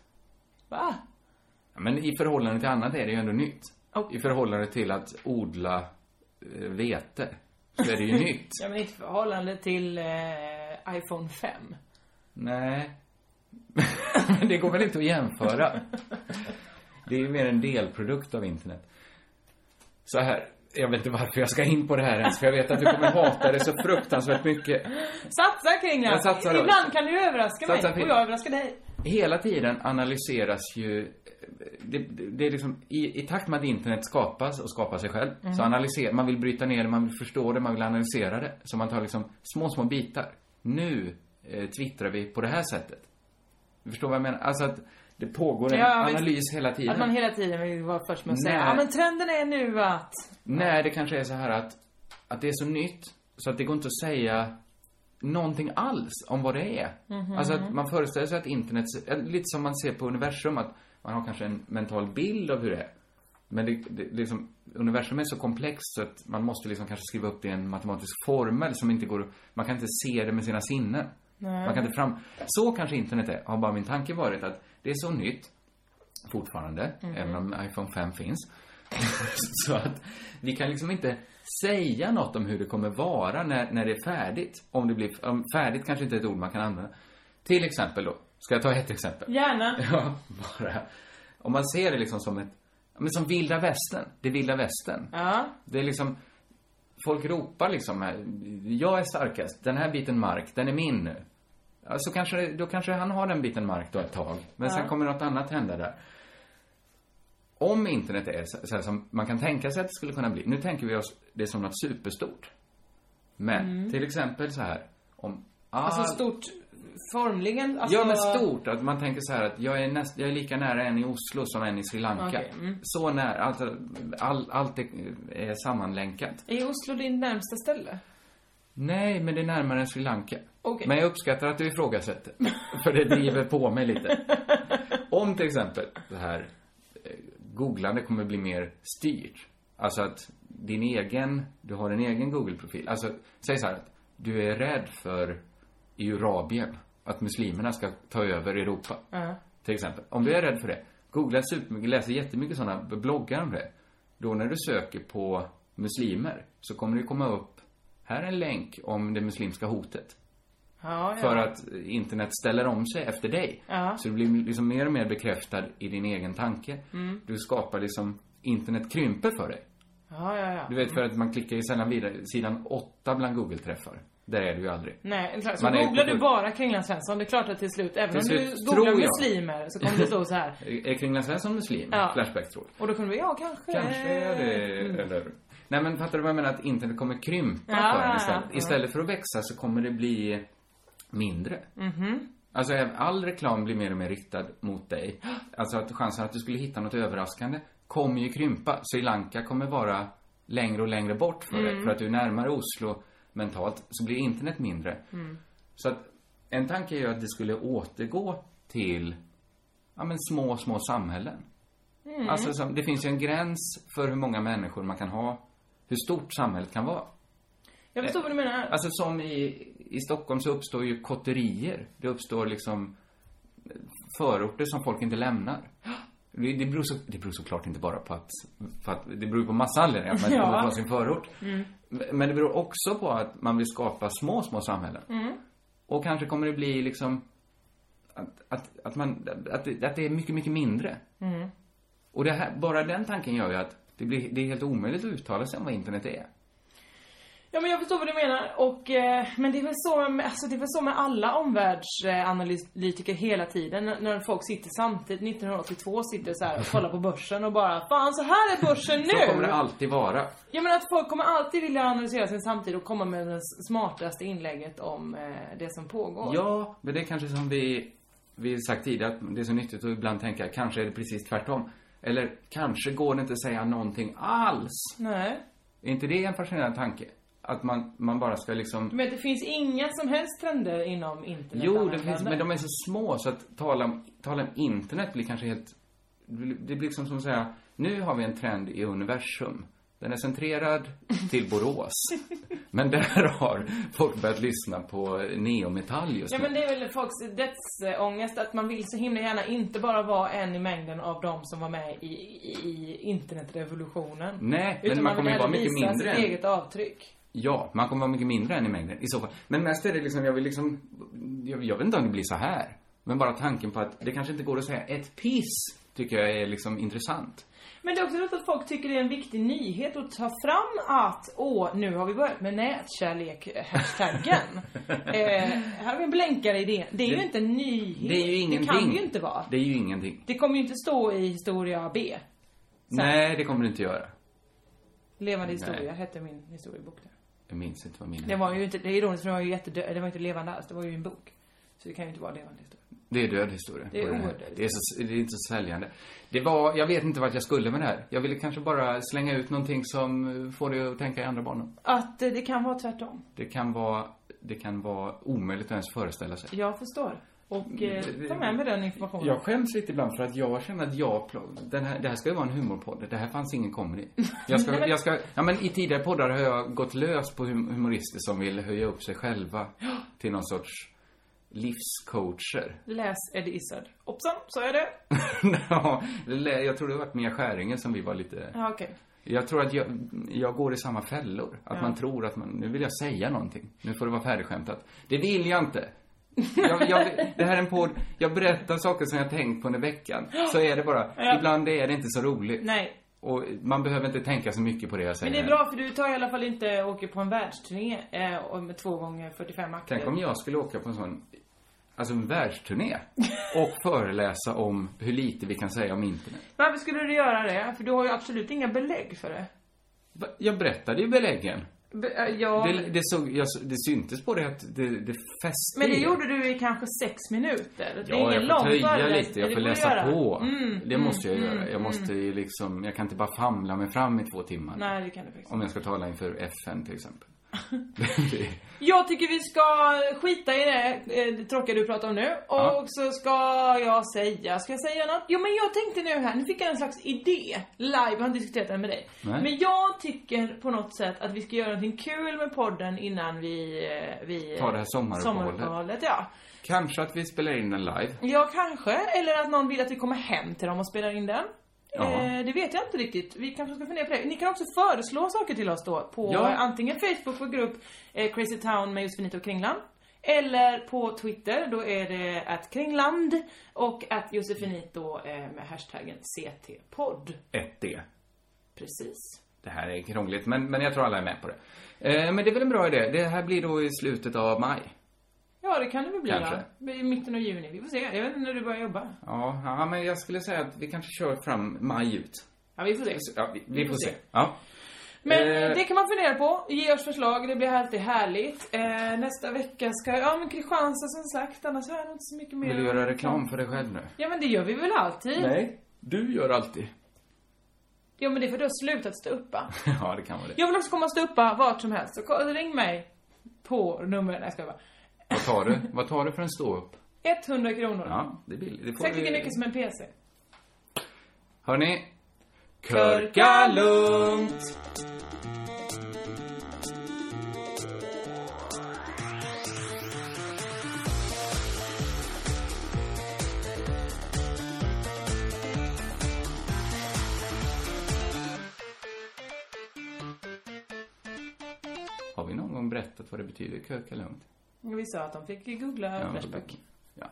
A: Va?
B: Ja, Men i förhållande till annat är det ju ändå nytt. I förhållande till att odla eh, vete så är det ju nytt.
A: Ja men inte i förhållande till eh, iPhone 5.
B: Nej. Men det går väl inte att jämföra. Det är ju mer en delprodukt av internet. Så här. Jag vet inte varför jag ska in på det här ens, för jag vet att du kommer hata det så fruktansvärt mycket.
A: Satsa Kringlan!
B: Jag satsar då.
A: Ibland kan du överraska
B: Satsa
A: mig
B: fint.
A: och jag överraskar dig.
B: hela tiden analyseras ju det, det det är liksom, i, i takt med att internet skapas och skapar sig själv
A: Mhm.
B: så analyserar man vill bryta ner det, man vill förstå det, man vill analysera det. Så man tar liksom små, små bitar. Nu eh, twittrar vi på det här sättet. Du förstår vad jag menar? Alltså att det pågår en
A: visst.
B: analys hela tiden.
A: Att man hela tiden vill vara först med att säga
B: Nej.
A: ja men trenden är nu att...
B: Nej, det kanske är så här att, att det är så nytt så att det går inte att säga någonting alls om vad det är.
A: Mhm.
B: Alltså att man föreställer sig att internet, eh, lite som man ser på universum, att man har kanske en mental bild av hur det är. Men det, det liksom, universum är så komplext så att man måste liksom kanske skriva upp det i en matematisk formel som inte går att- man kan inte se det med sina sinnen.
G: Nej.
B: Man kan inte fram... Så kanske internet är, har bara min tanke varit att det är så nytt fortfarande,
G: Mhm.
B: även om iPhone 5 finns. så att vi kan liksom inte säga något om hur det kommer vara när, när det är färdigt. Om det blir, om färdigt kanske inte är ett ord man kan använda. Till exempel då, ska jag ta ett exempel?
A: Gärna.
B: Ja, bara. Om man ser det liksom som ett, ja, men som vilda västern, det vilda västern.
A: Ja.
B: Det är liksom, folk ropar liksom här, jag är starkast, den här biten mark, den är min nu. Ja, så kanske, det- då kanske han har den biten mark då ett tag. Men
G: Ja.
B: sen kommer något annat hända där. Om internet är så så här som man kan tänka sig att det skulle kunna bli. Nu tänker vi oss det som något superstort. Men
A: Mm.
B: till exempel så här, om all...
A: Alltså stort formligen. Alltså,
B: Ja, men stort. Att man tänker så här att jag är, näst, jag är lika nära en i Oslo som en i Sri Lanka.
A: Okej, mm.
B: Så nära. Alltså, all, allt är, är sammanlänkat.
A: Är Oslo din närmsta ställe?
B: Nej, men det är närmare än Sri Lanka.
A: Okej.
B: Men jag uppskattar att du ifrågasätter. För det driver på mig lite. Om till exempel det här eh, googlande kommer bli mer styrt. Alltså att din egen, du har en egen Google-profil. Alltså, säg så här att du är rädd för Eurabien. Att muslimerna ska ta över Europa.
A: Ja.
B: Till exempel. Om du är rädd för det. Googla supermycket, läser jättemycket sådana bloggar om det. Då när du söker på muslimer så kommer det komma upp, här är en länk om det muslimska hotet.
A: Ja, ja.
B: För att internet ställer om sig efter dig.
A: Ja.
B: Så du blir liksom mer och mer bekräftad i din egen tanke.
A: Mm.
B: Du skapar liksom, internet krymper för dig.
A: Ja, ja, ja.
B: Du vet för att man klickar ju sällan vidare, sidan åtta bland Google-träffar. Där är du ju aldrig.
A: Nej, klart. så
B: Man är
A: googlar
B: på-
A: du bara Kringlan Svensson, det är klart att till slut, även
B: Till
A: om
B: slut
A: du googlar
B: tror jag.
A: muslimer så kommer det stå så här.
B: Är Kringland Svensson muslim?
A: Ja.
B: Flashback tror
A: Och då kommer du, ja kanske.
B: Kanske är det, eller? Nej men fattar du vad jag menar? Att internet kommer krympa
A: Mm. Ja,
B: för
A: ja,
B: en istället.
A: ja.
B: Istället för att växa så kommer det bli mindre.
A: Mhm.
B: Alltså även- all reklam blir mer och mer riktad mot dig. Alltså att chansen att du skulle hitta något överraskande kommer ju krympa. Sri Lanka kommer vara längre och längre bort för dig.
G: Mm.
B: För att du är närmare Oslo mentalt så blir internet mindre.
A: Mm.
B: Så att en tanke är ju att det skulle återgå till ja, men små, små samhällen.
G: Mm.
B: Alltså, som, det finns ju en gräns för hur många människor man kan ha, hur stort samhället kan vara.
A: Jag förstår vad du menar.
B: Alltså som i, i Stockholm så uppstår ju kotterier. Det uppstår liksom förorter som folk inte lämnar. Det, det, beror, så, det beror såklart inte bara på att, för att det beror ju på massa anledningar, men
G: Ja.
B: det beror på sin förort.
G: Mm.
B: Men det beror också på att man vill skapa små, små samhällen.
G: Mm.
B: Och kanske kommer det bli liksom att, att, att, man, att, det, att det är mycket, mycket mindre.
G: Mm.
B: Och det här, bara den tanken gör ju att Det, blir, det är helt omöjligt att uttala sig om vad internet är.
A: Ja men jag förstår vad du menar och eh, men det är väl så med, alltså det är väl så med alla omvärldsanalytiker hela tiden när- när folk sitter samtidigt 1982 sitter så här och kollar på börsen och bara fan så här är börsen nu!
B: Så kommer det alltid vara.
A: Ja men att folk kommer alltid vilja analysera sin samtid och komma med det s- smartaste inlägget om eh, det som pågår.
B: Ja, men det är kanske som vi, vi sagt tidigare, att det är så nyttigt att ibland tänka, kanske är det precis tvärtom. Eller kanske går det inte att säga någonting alls.
A: Nej.
B: Är inte det en fascinerande tanke? Att man, man bara ska liksom...
A: Du menar att det finns inga som helst trender inom internet?
B: Jo, det
A: användande?
B: finns, men de är så små så att tala om, tala om internet blir kanske helt... Det blir liksom som att säga, nu har vi en trend i universum. Den är centrerad till Borås. men där har folk börjat lyssna på neometall just
A: Ja
B: nu.
A: men det är väl folks dödsångest att man vill så himla gärna inte bara vara en i mängden av de som var med i, i, i internetrevolutionen.
B: Nej, men
A: Utan
B: man kommer
A: vill
B: ju vara
A: gärna
B: mycket
A: visa
B: mindre
A: sitt
B: än-
A: eget avtryck.
B: Ja, man kommer vara mycket mindre än i mängden i så fall. Men mest är det liksom, jag vill liksom, jag, jag vet inte om det blir så här. Men bara tanken på att det kanske inte går att säga ett piss tycker jag är liksom intressant.
A: Men det är också roligt att folk tycker det är en viktig nyhet att ta fram att åh, nu har vi börjat med nätkärlek-hashtaggen. eh, här har vi en blänkare i det. Det är ju
B: Det-
A: inte en nyhet.
B: Det är ju
A: Det
B: ingenting.
A: kan ju inte vara.
B: Det är ju ingenting.
A: Det kommer ju inte stå i historia B.
B: Nej, det kommer det inte göra.
A: Levande
B: Nej.
A: historia hette min historiebok där.
B: Jag minns inte vad min
A: Det var ju inte, det är ironiskt för det var ju jättedöd, det var inte levande alls, det var ju en bok. Så det kan ju inte vara levande historia.
B: Det är död historia.
A: Det är
B: Och här-
A: oerhört död
B: det är, så, det är inte så säljande. Det var, jag vet inte vart jag skulle med det här. Jag ville kanske bara slänga ut någonting som eh, får dig att tänka i andra banor.
A: Att eh, det kan vara tvärtom.
B: Det kan vara, det kan vara omöjligt att ens föreställa sig.
A: Jag förstår. Och eh,
B: Mm,
A: ta med mig den informationen.
B: Jag skäms lite ibland för att jag känner att jag... pl- Den här, det här ska ju vara en humorpodd. Det här fanns ingen comedy. Jag ska, jag ska, ja, men I tidigare poddar har jag gått lös på hum- humorister som vill höja upp sig själva till någon sorts livscoacher.
A: Läs Eddie Izzard. Hoppsan, sa jag det?
B: Ja, lä- jag tror det har varit Mia Skäringer som vi var lite...
A: Ja, okej.
B: Jag tror att jag, jag går i samma fällor. Att
A: Ja.
B: man tror att man, nu vill jag säga någonting. Nu får det vara färdigskämtat. Det vill jag inte. Jag, jag, det här är en podd, jag berättar saker som jag tänkt på under veckan. Så är det bara.
A: Ja.
B: Ibland är det inte så roligt.
A: Nej.
B: Och man behöver inte tänka så mycket på det jag säger.
A: Men det är bra för du tar i alla fall inte åker på en världsturné eh, och med två gånger 45 akter.
B: Tänk om jag skulle åka på en sån, alltså en världsturné. Och föreläsa om hur lite vi kan säga om internet.
A: Varför skulle du göra det? För du har ju absolut inga belägg för det.
B: Va? Jag berättade ju beläggen.
A: Be- eh, ja.
B: Det, det, såg, jag, det syntes på det att det, det fäste
A: Men det
B: i er.
A: gjorde du i kanske sex minuter. Det är
B: Ja,
A: ingen
B: jag får
A: lång
B: töja
A: föreläsning,
B: lite, jag
A: det
B: får
A: får du
B: läsa
A: göra.
B: på.
A: Mm,
B: det
A: mm,
B: måste jag
A: mm,
B: göra. Jag måste ju liksom, jag kan inte bara famla mig fram i två timmar.
A: Nej, det kan du faktiskt
B: Om jag ska tala inför FN till exempel.
A: Jag tycker vi ska skita i det, eh, det tråkiga du pratar om nu. Och
B: Ja.
A: så ska jag säga, ska jag säga något? Jo men jag tänkte nu här, nu fick jag en slags idé. Live, jag har inte diskuterat den med dig.
G: Nej.
A: Men jag tycker på något sätt att vi ska göra någonting kul med podden innan vi... eh, vi
B: Ta det här sommaruppehållet.
A: sommaruppehållet ja.
B: Kanske att vi spelar in den live.
A: ja, kanske. Eller att någon vill att vi kommer hem till dem och spelar in den.
B: Ja.
A: Eh, det vet jag inte riktigt. Vi kanske ska fundera på det. Ni kan också föreslå saker till oss då på
B: Ja.
A: eh, antingen Facebook för grupp eh, Crazy Town med Josefinito och Kringland. Eller på Twitter, då är det att Kringland och att Josefinito eh, med hashtaggen CT-podd.
B: Ett d
A: Precis.
B: Det här är krångligt, men, men jag tror alla är med på det. Eh, men det är väl en bra idé. Det här blir då i slutet av maj.
A: Ja, det kan det väl bli
B: Kanske.
A: då. I mitten av juni. Vi får se. Jag vet inte när du börjar jobba.
B: Ja, ja, men jag skulle säga att vi kanske kör fram maj ut.
A: Ja, vi får se.
B: Ja, vi, vi får se. Ja.
A: Men
B: Eh,
A: eh, det kan man fundera på. Ge oss förslag, det blir alltid härligt. Eh, nästa vecka ska jag, ja men Kristianstad som sagt, annars har jag nog inte så mycket mer.
B: Vill du göra reklam för dig själv nu?
A: Ja men det gör vi väl alltid?
B: Nej, du gör alltid.
A: Ja men det är för att du har slutat stå uppa.
B: ja, det kan vara det.
A: Jag vill också komma och stå uppa vart som helst, så ko- ring mig på nummer, nej jag skojar bara.
B: Vad tar du? Vad tar du för en ståupp?
A: 100 kronor.
B: Ja, det är billigt. Det får
A: Säkert
B: vi-
A: mycket som en PC.
B: Hörni.
A: Körka
B: lugnt! Har vi någon gång berättat vad det betyder, körka lugnt?
A: Och Vi sa att de fick googla
B: Ja,
A: Flashback.
B: Ja.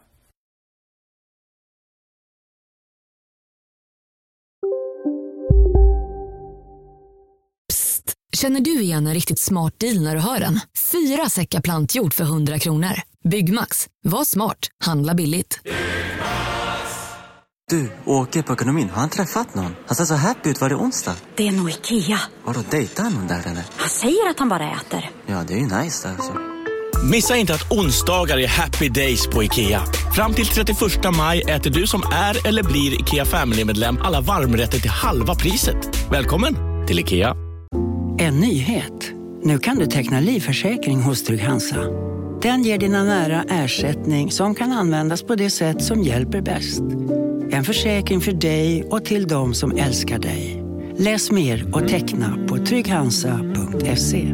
H: Känner du igen en riktigt smart deal när du hör den? Fyra säckar plantjord för 100 kronor. Byggmax, var smart, handla billigt.
I: Du, åker på ekonomin. Har han träffat någon? Han ser så happy ut. Var det onsdag?
J: Det är nog Ikea.
I: Har du dejtar han någon där eller?
J: Han säger att han bara äter.
I: Ja, det är ju nice alltså.
K: Missa inte att onsdagar är happy days på IKEA. Fram till 31 maj äter du som är eller blir IKEA Family-medlem alla varmrätter till halva priset. Välkommen till IKEA.
L: En nyhet. Nu kan du teckna livförsäkring hos Trygg-Hansa. Den ger dina nära ersättning som kan användas på det sätt som hjälper bäst. En försäkring för dig och till de som älskar dig. Läs mer och teckna på trygghansa.se.